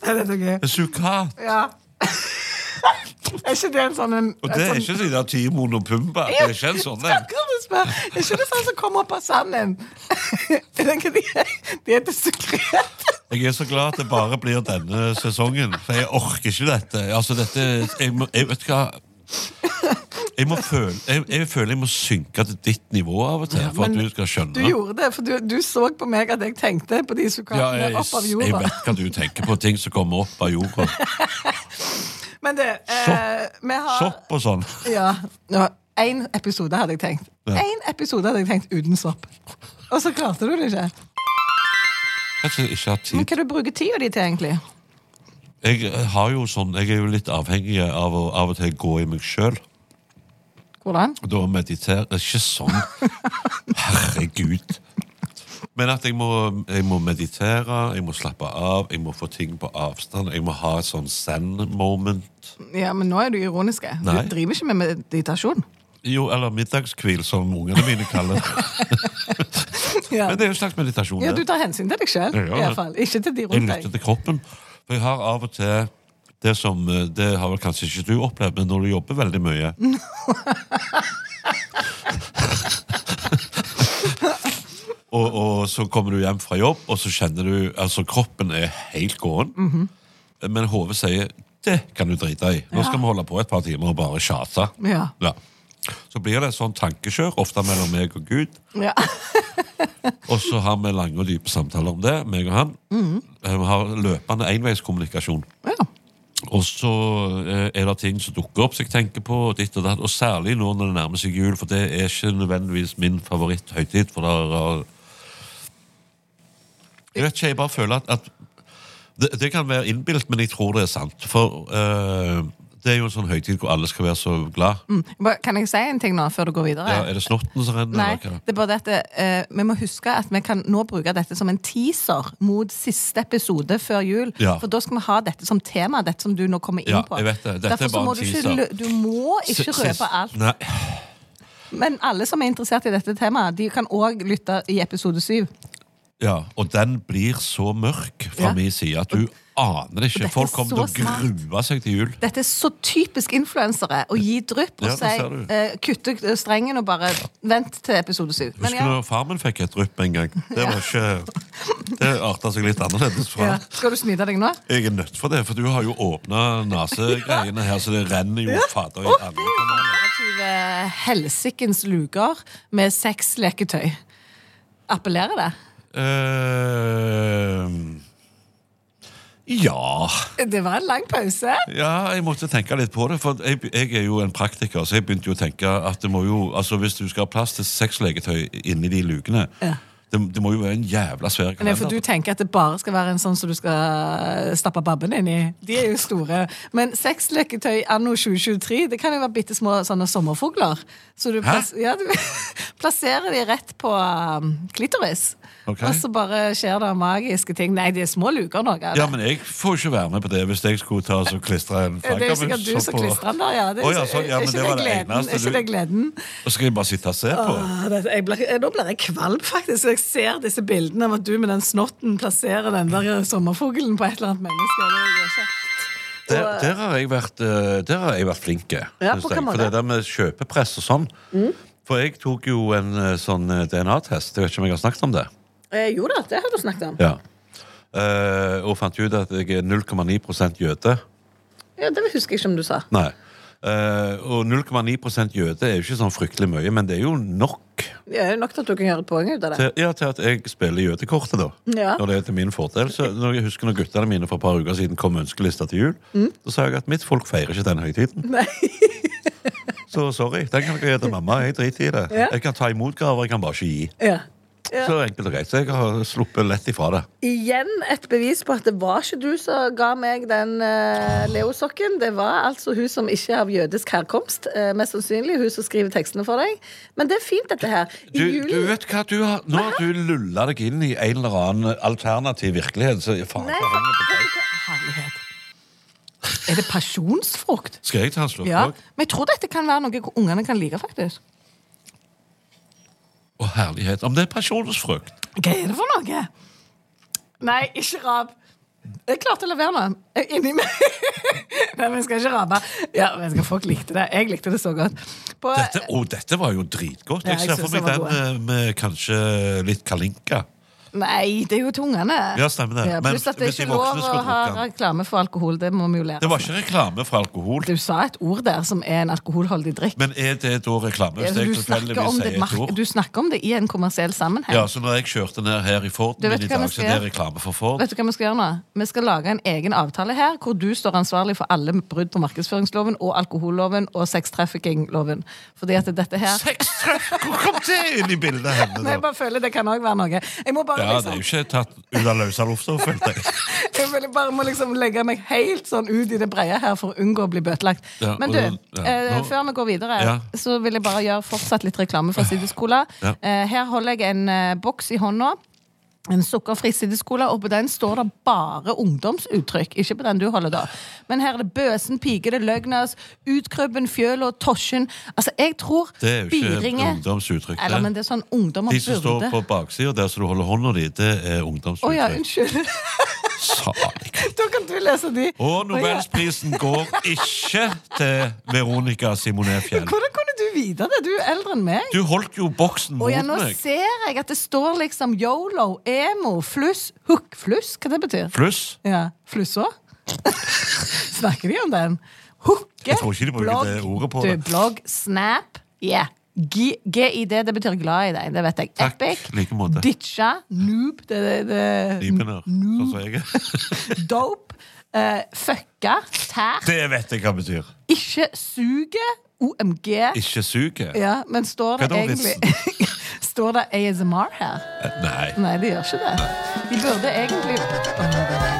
Speaker 3: Er dette gøy?
Speaker 2: Sukat.
Speaker 3: Ja. er ikke det en sånn en,
Speaker 2: Og det
Speaker 3: en
Speaker 2: er
Speaker 3: sånn,
Speaker 2: ikke de der Timon og Pumba. Det er ikke en sånn en.
Speaker 3: Akkurat det jeg spør. Er ikke det sånn som kommer opp av sanden? Jeg tenker de, de heter sukret.
Speaker 2: Jeg er så glad at det bare blir denne sesongen, for jeg orker ikke dette. Altså, dette jeg, må, jeg vet hva jeg, må føle, jeg, jeg føler jeg må synke til ditt nivå av og til for at
Speaker 3: men
Speaker 2: du skal skjønne.
Speaker 3: Du gjorde det, for du, du så på meg at jeg tenkte på de
Speaker 2: ja,
Speaker 3: sukatene
Speaker 2: jeg,
Speaker 3: opp av
Speaker 2: jeg
Speaker 3: jorda.
Speaker 2: vet hva du tenker på, ting som kommer opp av jorda.
Speaker 3: Men det, eh, vi har
Speaker 2: Sopp og sånn.
Speaker 3: Ja. ja. Én episode hadde jeg tenkt.
Speaker 2: Ja.
Speaker 3: Én episode hadde jeg tenkt uten sopp. Og så klarte du det ikke.
Speaker 2: Kanskje jeg ikke har
Speaker 3: Men
Speaker 2: tid.
Speaker 3: hva du bruker tida di til, egentlig?
Speaker 2: Jeg, har jo sånn, jeg er jo litt avhengig av å av og til gå i meg sjøl.
Speaker 3: Hvordan?
Speaker 2: Da mediterer Ikke sånn. Herregud. Men at jeg må, jeg må meditere, jeg må slappe av, jeg må få ting på avstand. Jeg må ha et sånn zen-moment.
Speaker 3: Ja, men nå er du ironisk. Du
Speaker 2: Nei.
Speaker 3: driver ikke med meditasjon.
Speaker 2: Jo, eller middagshvil, som ungene mine kaller det.
Speaker 3: Ja.
Speaker 2: Men det er jo en slags meditasjon.
Speaker 3: Ja,
Speaker 2: det.
Speaker 3: du tar hensyn til deg sjøl,
Speaker 2: Jeg gjør det.
Speaker 3: iallfall. Ikke til de
Speaker 2: Jeg
Speaker 3: rundt
Speaker 2: lytter
Speaker 3: deg.
Speaker 2: til kroppen. For jeg har av og til det som eh, Det har vel kanskje ikke du opplevd, men når du jobber veldig mye og, og så kommer du hjem fra jobb, og så kjenner du Altså, kroppen er helt gåen, men hodet sier det kan du drite i. Nå skal vi holde på et par timer og bare tjate.
Speaker 3: Ja.
Speaker 2: Ja. Så blir det et sånt tankekjør, ofte mellom meg og Gud.
Speaker 3: Ja.
Speaker 2: Og så har vi lange og dype samtaler om det, meg og han.
Speaker 3: Mhm.
Speaker 2: Eh, Vi har løpende enveiskommunikasjon. Og så eh, er det ting som dukker opp som jeg tenker på, og ditt og datt. Og særlig nå når det nærmer seg jul, for det er ikke nødvendigvis min favoritthøytid. For der er Jeg vet ikke, jeg bare føler at, at det, det kan være innbilt, men jeg tror det er sant. For eh, det er jo en sånn høytid hvor alle skal være så glad.
Speaker 3: Mm. Bare, Kan jeg si en ting nå, før du går videre?
Speaker 2: Ja, er det snotten som renner?
Speaker 3: Nei,
Speaker 2: eller hva?
Speaker 3: det er bare dette eh, Vi må huske at vi kan nå bruke dette som en teaser mot siste episode før jul.
Speaker 2: Ja.
Speaker 3: For da skal vi ha dette som tema, dette som du nå kommer inn
Speaker 2: Ja,
Speaker 3: på.
Speaker 2: jeg vet det. Dette er
Speaker 3: Derfor så
Speaker 2: bare
Speaker 3: må
Speaker 2: en
Speaker 3: du ikke,
Speaker 2: teaser.
Speaker 3: lø- du må ikke
Speaker 2: Sist- sist-
Speaker 3: røpe alt.
Speaker 2: Nei,
Speaker 3: Men alle som er interessert i dette temaet, de kan òg lytte i episode syv.
Speaker 2: Ja, og den blir så mørk fra
Speaker 3: Ja.
Speaker 2: min side at du aner
Speaker 3: dette er
Speaker 2: ikke. Folk kommer
Speaker 3: så
Speaker 2: til å
Speaker 3: smart.
Speaker 2: grue seg til jul.
Speaker 3: Dette er så typisk influensere å gi drypp og
Speaker 2: Ja, det
Speaker 3: si
Speaker 2: ser du.
Speaker 3: eh, kutte strengen og bare vent til episode syv. Men
Speaker 2: Husker
Speaker 3: ja,
Speaker 2: du når far min fikk et drypp en gang? Det var ikke Det arta seg litt annerledes fra.
Speaker 3: ja. Skal du snyte deg nå?
Speaker 2: Jeg er nødt for det, for du har jo åpna nesegreiene her, så det renner jo fader i alle kanaler.
Speaker 3: Alternative helsikens luker med seks leketøy. Appellerer det?
Speaker 2: Eh, Ehm, ja
Speaker 3: Det var en lang pause.
Speaker 2: Ja, jeg måtte tenke litt på det. For jeg, jeg er jo en praktiker, så jeg begynte jo å tenke at det må jo, altså hvis du skal ha plass til seks leketøy inni de lukene, det, det må jo være en jævla svær
Speaker 3: Nei, for du
Speaker 2: kalender.
Speaker 3: tenker at det bare skal være en sånn som du skal stappe babben inn i. De er jo store. Men seks leketøy anno 2023, det kan jo være bitte små sånne sommerfugler. Så du
Speaker 2: Hæ?
Speaker 3: pass- Ja, du, plasserer de rett på um, klitoris.
Speaker 2: Ok.
Speaker 3: Og så bare skjer det magiske ting. Nei, det er små luker noe. av det.
Speaker 2: Ja, men jeg får ikke være med på det hvis jeg skulle ta og klistre en
Speaker 3: det er jo sikkert du
Speaker 2: flaggermus
Speaker 3: som
Speaker 2: på-
Speaker 3: klistrer den, da. Ja. Det,
Speaker 2: Å, ja, sånn, ja,
Speaker 3: er
Speaker 2: men
Speaker 3: ikke
Speaker 2: det var det
Speaker 3: gleden?
Speaker 2: eneste
Speaker 3: Er ikke
Speaker 2: du-
Speaker 3: det gleden?
Speaker 2: Og så skal jeg bare sitte og se på.
Speaker 3: Åh, det, jeg blir, eh, nå blir jeg kvalm, faktisk. Jeg ser disse bildene av at du med den snotten plasserer den der eh, sommerfuglen på et eller annet menneske. Det gjør ikke.
Speaker 2: Der, der, har jeg vært, eh, der har jeg vært flink. eh,
Speaker 3: Ja,
Speaker 2: synes
Speaker 3: på hva
Speaker 2: jeg.
Speaker 3: måte? Mm.
Speaker 2: For det der med kjøpepress og sånn. For jeg tok jo en eh, sånn eh, DNA-test. Jeg vet ikke om jeg har snakket om det.
Speaker 6: Eh, jo da, det har du snakket om.
Speaker 2: Ja. Eh, og fant ut at jeg er 0,9 jøde.
Speaker 6: Ja, Det husker jeg ikke om du sa.
Speaker 2: Nei. Eh, og 0,9 jøde er jo ikke sånn fryktelig mye, men det er jo nok
Speaker 6: Det er nok til at du kan gjøre et poeng ut av det.
Speaker 2: til, ja, til at jeg spiller jødekortet, da.
Speaker 6: Ja.
Speaker 2: Når det er til min fordel. Så når jeg husker når guttene mine for et par uker siden kom med ønskelista til jul, så sa jeg at mitt folk feirer ikke den høytiden.
Speaker 6: Mm. Nei.
Speaker 2: Så sorry, den kan dere gi til mamma. Jeg driter i det. Jeg kan ta imot gaver, jeg kan bare ikke gi.
Speaker 6: Ja. Ja.
Speaker 2: Så enkelt og greit. Så jeg har sluppet lett ifra det.
Speaker 6: Igjen et bevis på at det var ikke du som ga meg den eh, Leo-sokken. Det var altså hun som ikke er av jødisk herkomst. eh, mest sannsynlig hun som skriver tekstene for deg. Men det er fint, dette her. I
Speaker 2: Du,
Speaker 6: julen-
Speaker 2: du vet hva, du har, nå har du lulla deg inn i en eller annen alternativ virkelighet. Så faen,
Speaker 6: Nei,
Speaker 2: så henger det på deg.
Speaker 3: Herlighet. Er det pasjonsfrukt?
Speaker 2: Skal jeg ta en slurk
Speaker 3: Ja.
Speaker 2: òg?
Speaker 3: Men jeg tror dette kan være noe ungene kan like, faktisk.
Speaker 2: Å, herlighet. Om det er personens frukt.
Speaker 3: Hva er det for noe? Nei, ikke rap. Jeg klarte å levere noe. Jeg er Inni meg. Nei, men jeg skal ikke rape. Ja, men jeg skal Folk likte det. Jeg likte det så godt. På,
Speaker 2: Dette, å, dette var jo dritgodt.
Speaker 3: Ja,
Speaker 2: Jeg
Speaker 3: jeg
Speaker 2: ser
Speaker 3: synes
Speaker 2: for meg
Speaker 3: det
Speaker 2: den
Speaker 3: var
Speaker 2: eh, med kanskje litt kalinka.
Speaker 3: Nei, det er jo til ungene.
Speaker 2: Ja, stemmer det. Men
Speaker 3: pluss at det
Speaker 2: hvis de
Speaker 3: er ikke lov
Speaker 2: voksne
Speaker 3: å
Speaker 2: skulle
Speaker 3: ha
Speaker 2: drukke den.
Speaker 3: reklame for alkohol. Det må vi jo lære.
Speaker 2: Det var ikke reklame for alkohol.
Speaker 3: Du sa et ord der som er en alkoholholdig drikk.
Speaker 2: Men er det da reklame? Hvis
Speaker 3: Altså,
Speaker 2: jeg
Speaker 3: du, snakker
Speaker 2: tilfeldigvis
Speaker 3: om det,
Speaker 2: sier et
Speaker 3: mark-
Speaker 2: ord?
Speaker 3: du snakker om det i en kommersiell sammenheng.
Speaker 2: Ja, så når jeg kjørte ned her i Forden
Speaker 3: Du vet
Speaker 2: min i
Speaker 3: hva vi
Speaker 2: dag, så er det
Speaker 3: skal-
Speaker 2: reklame for Ford.
Speaker 3: Vet du hva Vi skal gjøre nå? Vi skal lage en egen avtale her, hvor du står ansvarlig for alle brudd på markedsføringsloven og alkoholloven og sextrafficking-loven. Fordi at dette her
Speaker 2: Sextreff! Hvor kom det inn i bildet henne,
Speaker 3: Men Jeg
Speaker 2: da?
Speaker 3: bare føler det kan òg være noe. Jeg må bare,
Speaker 2: Ja, det er
Speaker 3: liksom,
Speaker 2: jo ikke tatt ut av løse lufta, følte jeg.
Speaker 3: jeg føler jeg bare må liksom legge meg helt sånn ut i det brede her for å unngå å bli bøtelagt.
Speaker 2: Ja, og
Speaker 3: Men du,
Speaker 2: da- ja,
Speaker 3: eh,
Speaker 2: nå-
Speaker 3: før vi går videre,
Speaker 2: Ja.
Speaker 3: så vil jeg bare gjøre fortsatt litt reklame for Sideskola.
Speaker 2: Ja.
Speaker 3: Eh, her holder jeg en eh, boks i hånda. En sukkerfri sideskola, og på den står det bare ungdomsuttrykk. Ikke på den du holder, da. Men her er det Bøsen, Pike, det er Løgnas, Utkrøbben, Fjøla, Tosjen. Altså, jeg tror
Speaker 2: Det er jo ikke et
Speaker 3: Biringe-
Speaker 2: ungdomsuttrykk,
Speaker 3: Eller,
Speaker 2: det.
Speaker 3: men det er sånn ungdommer
Speaker 2: De som står
Speaker 3: burde
Speaker 2: på baksida der som du holder hånda di, det er
Speaker 3: Å ja,
Speaker 2: ungdomsuttrykk.
Speaker 3: unnskyld.
Speaker 2: Salig.
Speaker 3: da kan du lese de.
Speaker 2: Og Nobelsprisen går ikke til Veronica Simonet Fjell.
Speaker 3: Hvordan kunne du vite det? Du er eldre enn meg.
Speaker 2: Du holdt jo boksen
Speaker 3: Og
Speaker 2: mot
Speaker 3: ja, nå
Speaker 2: meg.
Speaker 3: ser jeg at det står liksom yolo, emo, fluss, hook, fluss. Hva det betyr?
Speaker 2: Pluss.
Speaker 3: Ja, Flussa? Snakker de om den? Hooke,
Speaker 2: Jeg tror ikke de bruker
Speaker 3: blogg,
Speaker 2: det ordet på
Speaker 3: du,
Speaker 2: det.
Speaker 3: blogg, snap, yeah. G- GID, det betyr glad i deg, det vet jeg.
Speaker 2: Takk,
Speaker 3: Epic,
Speaker 2: like måte.
Speaker 3: ditcha, noob, det, det, det,
Speaker 2: Ribener, sånn som jeg er.
Speaker 3: dope, eh, fucka, tær,
Speaker 2: Det vet jeg hva betyr.
Speaker 3: ikke suge, OMG.
Speaker 2: Ikke suge.
Speaker 3: Ja, men står det
Speaker 2: Hva er da
Speaker 3: egentlig Står det ASMR her?
Speaker 2: Nei.
Speaker 3: Nei, det gjør ikke det. De burde egentlig